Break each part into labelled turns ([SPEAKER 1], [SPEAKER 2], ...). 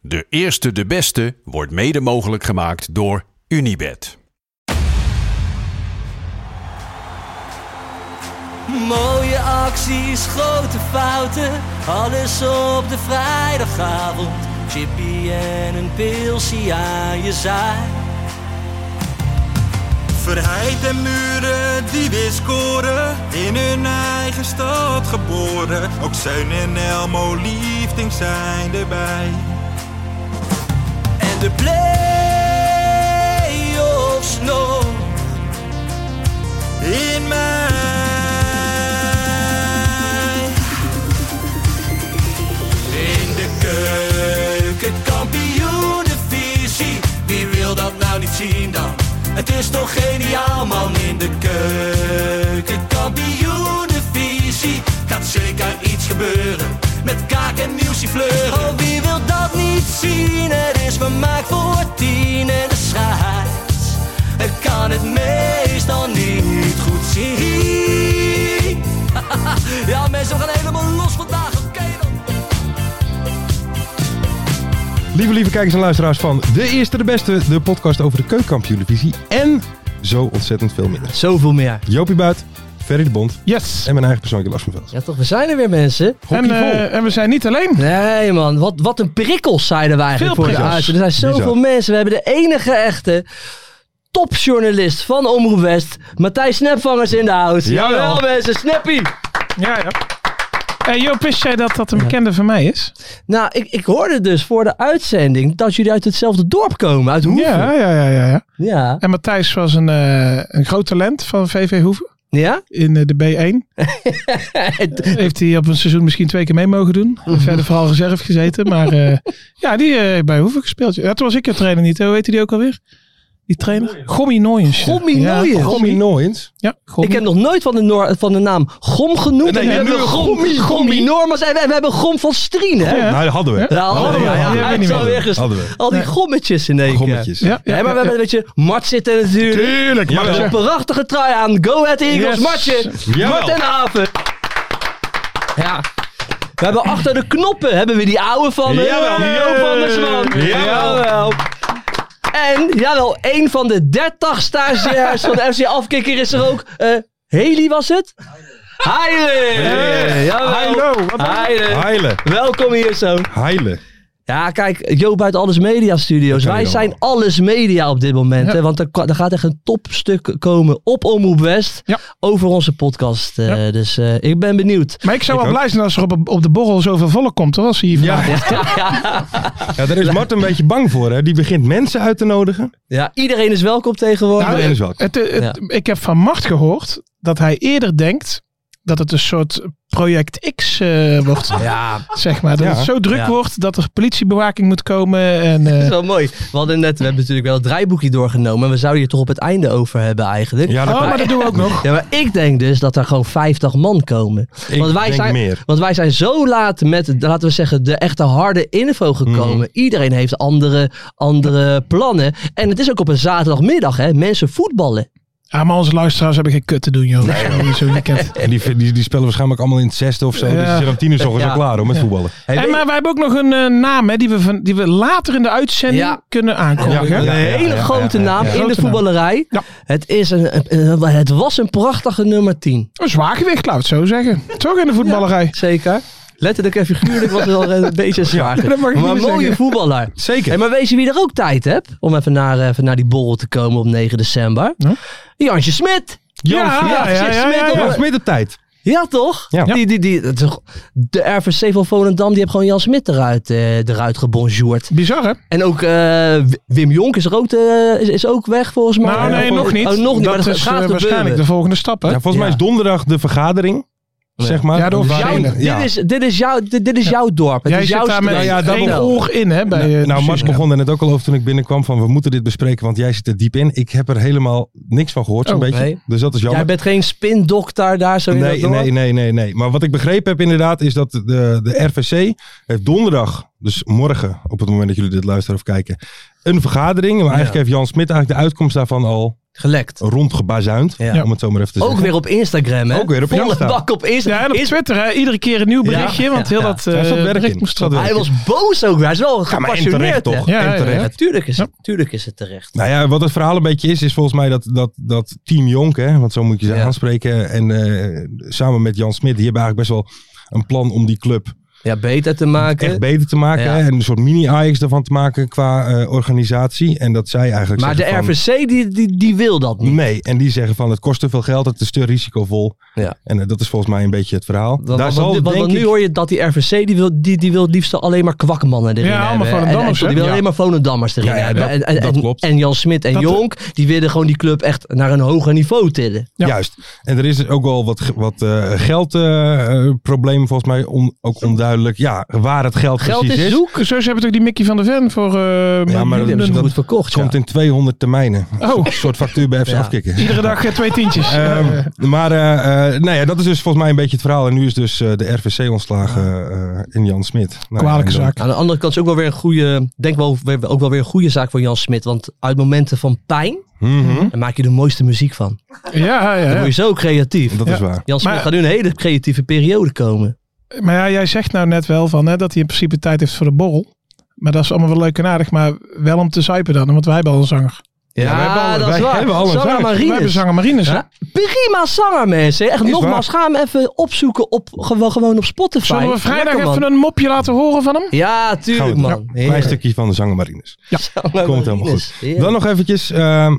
[SPEAKER 1] De eerste, de beste wordt mede mogelijk gemaakt door Unibed.
[SPEAKER 2] Mooie acties, grote fouten, alles op de vrijdagavond. Chippy en een pilsie aan je zaai.
[SPEAKER 3] Verheid en muren die weer scoren, in hun eigen stad geboren. Ook Zijn en Elmo liefding zijn erbij.
[SPEAKER 2] En de play-offs nog.
[SPEAKER 3] In mij.
[SPEAKER 2] In de keuken, kampioenenvisie. Wie wil dat nou niet zien dan? Het is toch geniaal man in de keuken, kampioenenvisie. Gaat zeker iets gebeuren met kaak en nieuwsie fleuren. Oh, wie wil dat niet zien? Het is vermaakt voor tien en de scheids. Ik kan het meestal niet goed zien. ja mensen, we gaan helemaal los vandaag. Oké dan.
[SPEAKER 4] Lieve, lieve kijkers en luisteraars van De Eerste de Beste, de podcast over de keukenkampioendivisie en zo ontzettend veel minder.
[SPEAKER 5] Zoveel meer.
[SPEAKER 4] Jopie Buit, Ferry de Bond
[SPEAKER 6] Yes.
[SPEAKER 4] en mijn eigen persoonlijke Lars van Vels.
[SPEAKER 5] Ja toch, we zijn er weer mensen.
[SPEAKER 6] En,
[SPEAKER 4] Hockeyvol.
[SPEAKER 6] eh, en we zijn niet alleen.
[SPEAKER 5] Nee man, wat, wat een prikkels zeiden we eigenlijk
[SPEAKER 6] Veel
[SPEAKER 5] voor de
[SPEAKER 6] prikkels.
[SPEAKER 5] uitzending. Er zijn zoveel
[SPEAKER 4] Bizar.
[SPEAKER 5] mensen. We hebben de enige echte topjournalist van Omroep West, Matthijs Snapvangers in de house.
[SPEAKER 4] Jawel.
[SPEAKER 5] Jawel mensen, Snappy!
[SPEAKER 6] Ja, ja. Hey, Eh, Joop, wist jij dat dat een bekende van mij is?
[SPEAKER 5] Nou, ik, ik hoorde dus voor de uitzending dat jullie uit hetzelfde dorp komen, uit Hoeven.
[SPEAKER 6] Ja, ja, ja, ja, ja.
[SPEAKER 5] Ja.
[SPEAKER 6] En Matthijs was een, eh, een groot talent van VV Hoeven.
[SPEAKER 5] Ja?
[SPEAKER 6] In eh, de B1. Heeft hij op een seizoen misschien twee keer mee mogen doen. Verder vooral reserve gezeten. Maar eh, ja, die eh, heeft bij Hoeven gespeeld. Ja, toen was ik je trainer niet. hè. Hoe heette die ook alweer? Die trainer? Gommy Nooyens. ja.
[SPEAKER 5] Gommy Nooyens.
[SPEAKER 6] Ja,
[SPEAKER 4] Robbie Nooyens.
[SPEAKER 6] Ja, Gommy.
[SPEAKER 5] Ik heb nog nooit van de, noor- van de naam Gom genoemd.
[SPEAKER 6] Nee,
[SPEAKER 5] we
[SPEAKER 6] je
[SPEAKER 5] hebben
[SPEAKER 6] hebt een
[SPEAKER 5] Gom,
[SPEAKER 6] Gommi, Gommi.
[SPEAKER 5] Normas en we, we hebben Gom van Strien, hè?
[SPEAKER 6] Ja.
[SPEAKER 4] Nou, dat hadden we.
[SPEAKER 5] Ja, hadden we. Ja,
[SPEAKER 6] Ja, die hebben we
[SPEAKER 5] ik
[SPEAKER 6] niet
[SPEAKER 5] zou
[SPEAKER 6] meer.
[SPEAKER 5] ergens-
[SPEAKER 4] Hadden we.
[SPEAKER 5] Al die gommetjes in één keer.
[SPEAKER 4] Gommetjes.
[SPEAKER 6] Ja,
[SPEAKER 5] Ja,
[SPEAKER 6] ja,
[SPEAKER 5] maar we
[SPEAKER 6] ja,
[SPEAKER 5] hebben een beetje Mart zitten natuurlijk.
[SPEAKER 6] Tuurlijk,
[SPEAKER 4] Ja,
[SPEAKER 6] maar
[SPEAKER 5] Een
[SPEAKER 4] ja.
[SPEAKER 5] prachtige trui aan. Go Ahead Eagles,
[SPEAKER 6] Yes.
[SPEAKER 5] Martje.
[SPEAKER 4] Jawel.
[SPEAKER 5] Mart en Aven. Ja. We hebben achter de knoppen hebben we die oude van eh,
[SPEAKER 4] Jawel.
[SPEAKER 5] Joop van der Zwan.
[SPEAKER 4] Jawel.
[SPEAKER 5] En jawel, een van de 30 stagiairs van de FC Afkikker is er ook. Eh Haley was het? Heile!
[SPEAKER 4] Hey.
[SPEAKER 5] Jawel.
[SPEAKER 6] Heilo, wat dan?
[SPEAKER 5] Heile.
[SPEAKER 4] Heile.
[SPEAKER 5] Welkom hier zo.
[SPEAKER 4] Heile.
[SPEAKER 5] Ja, kijk, Joop uit Alles Media Studios.
[SPEAKER 4] kan
[SPEAKER 5] Wij
[SPEAKER 4] niet
[SPEAKER 5] zijn Alles Media op dit moment. Hè, want er, kwa- er gaat echt een topstuk komen op Omroep West.
[SPEAKER 6] Ja.
[SPEAKER 5] Over onze podcast. eh,
[SPEAKER 6] Ja.
[SPEAKER 5] Dus eh, ik ben benieuwd.
[SPEAKER 6] Maar ik zou
[SPEAKER 4] Ik
[SPEAKER 6] wel
[SPEAKER 4] ook.
[SPEAKER 6] blij zijn als er op, op de borrel zoveel volk komt. Hoor, als hij hier
[SPEAKER 4] Ja.
[SPEAKER 6] vandaag-
[SPEAKER 4] ja, daar is Mart een beetje bang voor. Hè. Die begint mensen uit te nodigen.
[SPEAKER 5] Ja, iedereen is welkom tegenwoordig.
[SPEAKER 4] Nou, Iedereen is welkom.
[SPEAKER 6] Het, eh, het- Ik heb van Mart gehoord dat hij eerder denkt dat het een soort project X eh, wordt.
[SPEAKER 5] ja,
[SPEAKER 6] Zeg maar. Dat
[SPEAKER 4] Ja.
[SPEAKER 6] het zo druk
[SPEAKER 5] Ja.
[SPEAKER 6] wordt dat er politiebewaking moet komen. En, eh,
[SPEAKER 5] dat is wel mooi. We hadden net, we hebben natuurlijk wel het draaiboekje doorgenomen. En we zouden hier toch op het einde over hebben eigenlijk.
[SPEAKER 4] Ja, dat
[SPEAKER 6] oh, maar dat doen we ook nog.
[SPEAKER 5] Ja, maar ik denk dus dat er gewoon 50 man komen.
[SPEAKER 4] Ik
[SPEAKER 5] want wij
[SPEAKER 4] denk
[SPEAKER 5] zijn,
[SPEAKER 4] meer.
[SPEAKER 5] Want wij zijn zo laat met, laten we zeggen, de echte harde info gekomen.
[SPEAKER 4] Mhm.
[SPEAKER 5] Iedereen heeft andere, andere plannen. En het is ook op een zaterdagmiddag, hè. Mensen voetballen.
[SPEAKER 6] Ja, Ah, maar onze luisteraars hebben geen kut te doen, joh. Zo'n weekend.
[SPEAKER 4] En die, die, die spelen waarschijnlijk allemaal in het zesde of zo. Dus die
[SPEAKER 6] Ja.
[SPEAKER 4] zijn om tien uur 's ochtends al
[SPEAKER 5] Ja.
[SPEAKER 4] klaar hoor, met voetballen.
[SPEAKER 6] En, maar wij hebben ook nog een eh, naam hè, die, we van, die we later in de uitzending
[SPEAKER 5] Ja.
[SPEAKER 6] kunnen aankondigen.
[SPEAKER 4] Ja,
[SPEAKER 5] Een
[SPEAKER 4] ja,
[SPEAKER 5] hele
[SPEAKER 4] ja,
[SPEAKER 5] grote
[SPEAKER 4] ja, ja,
[SPEAKER 5] naam
[SPEAKER 4] ja.
[SPEAKER 5] in de
[SPEAKER 6] Grote naam.
[SPEAKER 5] voetballerij.
[SPEAKER 6] Ja.
[SPEAKER 5] Het, is een, een- een- het was een prachtige nummer 10.
[SPEAKER 6] Een zwaar gewicht, laat ik het zo zeggen. Toch in de voetballerij.
[SPEAKER 5] Zeker. Letterlijk en figuurlijk was het wel een beetje zwaar.
[SPEAKER 6] dat mag ik niet
[SPEAKER 5] maar
[SPEAKER 6] meer
[SPEAKER 5] mooie
[SPEAKER 6] zeggen.
[SPEAKER 5] voetballer.
[SPEAKER 4] Zeker.
[SPEAKER 5] Hey, maar weet je wie er ook tijd hebt om even naar, eh, even naar die borrel te komen op 9 december?
[SPEAKER 6] Huh?
[SPEAKER 5] Jantje Smit.
[SPEAKER 6] Ja, ja, ja, ja, ja,
[SPEAKER 5] op-
[SPEAKER 4] Ja, is midden tijd.
[SPEAKER 5] Ja, toch?
[SPEAKER 4] Ja.
[SPEAKER 5] Die, die, die, dat is toch- de RVC van Volendam, die heeft gewoon Jan Smit eruit, eh, eruit gebonjourd.
[SPEAKER 6] Bizar, hè?
[SPEAKER 5] En ook eh, W- Wim Jonk is er ook, eh, is, is ook weg, volgens mij.
[SPEAKER 6] Nou, nee, nog niet.
[SPEAKER 5] Oh, nog niet,
[SPEAKER 6] dat
[SPEAKER 5] maar dat
[SPEAKER 6] is
[SPEAKER 5] gaat
[SPEAKER 6] eh,
[SPEAKER 5] gebeuren.
[SPEAKER 6] waarschijnlijk de volgende stap, hè?
[SPEAKER 4] Ja, volgens
[SPEAKER 5] Ja.
[SPEAKER 4] mij is donderdag de vergadering. zeg maar.
[SPEAKER 6] Ja, door
[SPEAKER 4] Waar-
[SPEAKER 6] jouw-
[SPEAKER 4] ja.
[SPEAKER 5] Dit is, dit is, jouw, dit, dit is jouw dorp. Het
[SPEAKER 6] Jij
[SPEAKER 5] is
[SPEAKER 6] zit
[SPEAKER 5] jouw
[SPEAKER 6] daar met
[SPEAKER 5] streek.
[SPEAKER 4] ja, daarom-
[SPEAKER 6] één oor in, hè? Bij, eh,
[SPEAKER 4] nou, nou, Mars
[SPEAKER 6] precies.
[SPEAKER 4] begon er net ook al over toen ik binnenkwam van we moeten dit bespreken, want jij zit er diep in. Ik heb er helemaal niks van gehoord, zo'n
[SPEAKER 6] Oh,
[SPEAKER 4] beetje.
[SPEAKER 5] nee.
[SPEAKER 4] Dus dat is jammer.
[SPEAKER 5] Jij bent geen spindokter daar zo in dat
[SPEAKER 4] Nee,
[SPEAKER 5] dorp.
[SPEAKER 4] nee, nee, nee, nee. Maar wat ik begrepen heb inderdaad is dat de, de RVC heeft donderdag, dus morgen op het moment dat jullie dit luisteren of kijken, een vergadering. Maar eigenlijk heeft Jan Smit eigenlijk de uitkomst daarvan al
[SPEAKER 5] Gelekt.
[SPEAKER 4] rondgebazuind.
[SPEAKER 5] Ja.
[SPEAKER 4] Om het zo maar even
[SPEAKER 6] Oh.
[SPEAKER 4] te
[SPEAKER 5] Ook
[SPEAKER 4] zeggen.
[SPEAKER 5] weer op Instagram, hè?
[SPEAKER 4] Ook weer op
[SPEAKER 5] Volle
[SPEAKER 4] Insta.
[SPEAKER 5] bak op Instagram.
[SPEAKER 6] Ja, en op
[SPEAKER 5] Is-
[SPEAKER 6] Twitter, hè? Iedere keer een nieuw berichtje,
[SPEAKER 5] Ja,
[SPEAKER 6] want
[SPEAKER 5] ja,
[SPEAKER 6] heel
[SPEAKER 5] ja.
[SPEAKER 6] dat eh
[SPEAKER 4] Daar zat werk
[SPEAKER 6] bericht
[SPEAKER 4] in.
[SPEAKER 6] moest
[SPEAKER 4] Zat
[SPEAKER 6] erop.
[SPEAKER 5] Hij
[SPEAKER 4] werk.
[SPEAKER 5] was boos ook. Hij is wel
[SPEAKER 4] Ja, maar en
[SPEAKER 5] gepassioneerd,
[SPEAKER 4] terecht
[SPEAKER 5] hè?
[SPEAKER 4] toch?
[SPEAKER 6] Ja,
[SPEAKER 4] en
[SPEAKER 6] ja, ja.
[SPEAKER 4] terecht.
[SPEAKER 5] Natuurlijk is,
[SPEAKER 6] Ja.
[SPEAKER 5] het, tuurlijk is het terecht.
[SPEAKER 4] Nou ja, wat het verhaal een beetje is, is volgens mij dat, dat, dat Team Jonk, hè, want zo moet je ze
[SPEAKER 5] Ja.
[SPEAKER 4] aanspreken. En eh, samen met Jan Smit, die hebben eigenlijk best wel een plan om die club
[SPEAKER 5] Ja, beter te maken.
[SPEAKER 4] echt beter te maken.
[SPEAKER 5] Eh, Ja.
[SPEAKER 4] Hè, en een soort mini-Ajax ervan te maken qua eh, organisatie. En dat zij eigenlijk
[SPEAKER 5] maar de
[SPEAKER 4] zeggen van-
[SPEAKER 5] RVC die, die, die wil dat niet.
[SPEAKER 4] Nee, en die zeggen van het kost te veel geld, het is te risicovol.
[SPEAKER 5] Ja.
[SPEAKER 4] En eh, dat is volgens mij een beetje het verhaal.
[SPEAKER 5] Want,
[SPEAKER 4] Daar
[SPEAKER 5] want- want-
[SPEAKER 4] zal
[SPEAKER 5] want-
[SPEAKER 4] denk
[SPEAKER 5] want nu
[SPEAKER 4] ik-
[SPEAKER 5] hoor je dat die RVC die wil, die, die wil het liefst alleen maar kwakmannen erin
[SPEAKER 6] Ja, allemaal
[SPEAKER 5] hebben. En-
[SPEAKER 6] Volendammers,
[SPEAKER 5] en, die
[SPEAKER 6] hè?
[SPEAKER 5] wil
[SPEAKER 6] Ja.
[SPEAKER 5] alleen maar Volendammers erin
[SPEAKER 4] Ja, ja,
[SPEAKER 5] hebben.
[SPEAKER 4] dat-
[SPEAKER 5] en, en,
[SPEAKER 4] dat
[SPEAKER 5] en-
[SPEAKER 4] klopt.
[SPEAKER 5] en Jan Smit en
[SPEAKER 6] Dat-
[SPEAKER 5] Jonk die willen gewoon die club echt naar een hoger niveau tillen.
[SPEAKER 6] Ja.
[SPEAKER 4] Juist. En er is ook wel wat, ge- wat eh, geldprobleem eh, volgens mij on- ook onduidelijk. Ja, waar het geld,
[SPEAKER 5] Geld
[SPEAKER 4] precies
[SPEAKER 5] is
[SPEAKER 4] is.
[SPEAKER 5] zoek.
[SPEAKER 6] Zo hebben we ook die Mickey van der Ven voor... eh,
[SPEAKER 4] Ja, maar
[SPEAKER 5] Die hebben ze
[SPEAKER 4] dat-
[SPEAKER 5] goed verkocht.
[SPEAKER 4] Het
[SPEAKER 5] Ja.
[SPEAKER 4] komt in 200 termijnen.
[SPEAKER 6] Oh.
[SPEAKER 4] Een soort factuur bij FC
[SPEAKER 5] Ja.
[SPEAKER 4] afkicken.
[SPEAKER 6] Iedere dag eh, twee tientjes.
[SPEAKER 4] Ehm, maar eh, eh, nou ja, dat is dus volgens mij een beetje het verhaal. En nu is dus eh, de RVC ontslagen eh, in Jan Smit. Nou,
[SPEAKER 6] Kwalijke
[SPEAKER 4] en dan-
[SPEAKER 6] zaak.
[SPEAKER 5] Aan de andere kant is ook wel weer een goede, denk wel, weer- ook wel weer een goede zaak voor Jan Smit. Want uit momenten van pijn,
[SPEAKER 4] Mhm,
[SPEAKER 5] daar maak je de mooiste muziek van.
[SPEAKER 6] Ja, ja,
[SPEAKER 5] Dan
[SPEAKER 6] ja.
[SPEAKER 5] word je zo creatief.
[SPEAKER 4] Dat is
[SPEAKER 6] Ja.
[SPEAKER 4] waar.
[SPEAKER 5] Jan Smit
[SPEAKER 6] Maar-
[SPEAKER 5] gaat nu een hele creatieve periode komen.
[SPEAKER 6] Maar ja, jij zegt nou net wel van hè, dat hij in principe tijd heeft voor de borrel. Maar dat is allemaal wel leuk en aardig, maar wel om te zuipen dan, want wij hebben al een zanger.
[SPEAKER 5] Ja,
[SPEAKER 4] wij hebben al-
[SPEAKER 5] Ah, dat
[SPEAKER 4] wij
[SPEAKER 5] is waar.
[SPEAKER 4] hebben al een
[SPEAKER 5] Sarah
[SPEAKER 4] zaak. Wij
[SPEAKER 6] Wij hebben
[SPEAKER 5] Marines.
[SPEAKER 6] zanger Marines, hè?
[SPEAKER 5] Ja, prima zanger, mensen. Echt, nogmaals, ga hem even opzoeken op, gewoon, gewoon op Spotify.
[SPEAKER 6] Zullen we vrijdag
[SPEAKER 5] Lekker, man.
[SPEAKER 6] even een mopje laten horen van hem?
[SPEAKER 5] Ja,
[SPEAKER 4] Gaan
[SPEAKER 5] tuurlijk,
[SPEAKER 4] we
[SPEAKER 5] man.
[SPEAKER 4] doen. Klein stukje van de zangermarines. Komt helemaal goed. Dan
[SPEAKER 5] Dan
[SPEAKER 4] nog eventjes. ehm,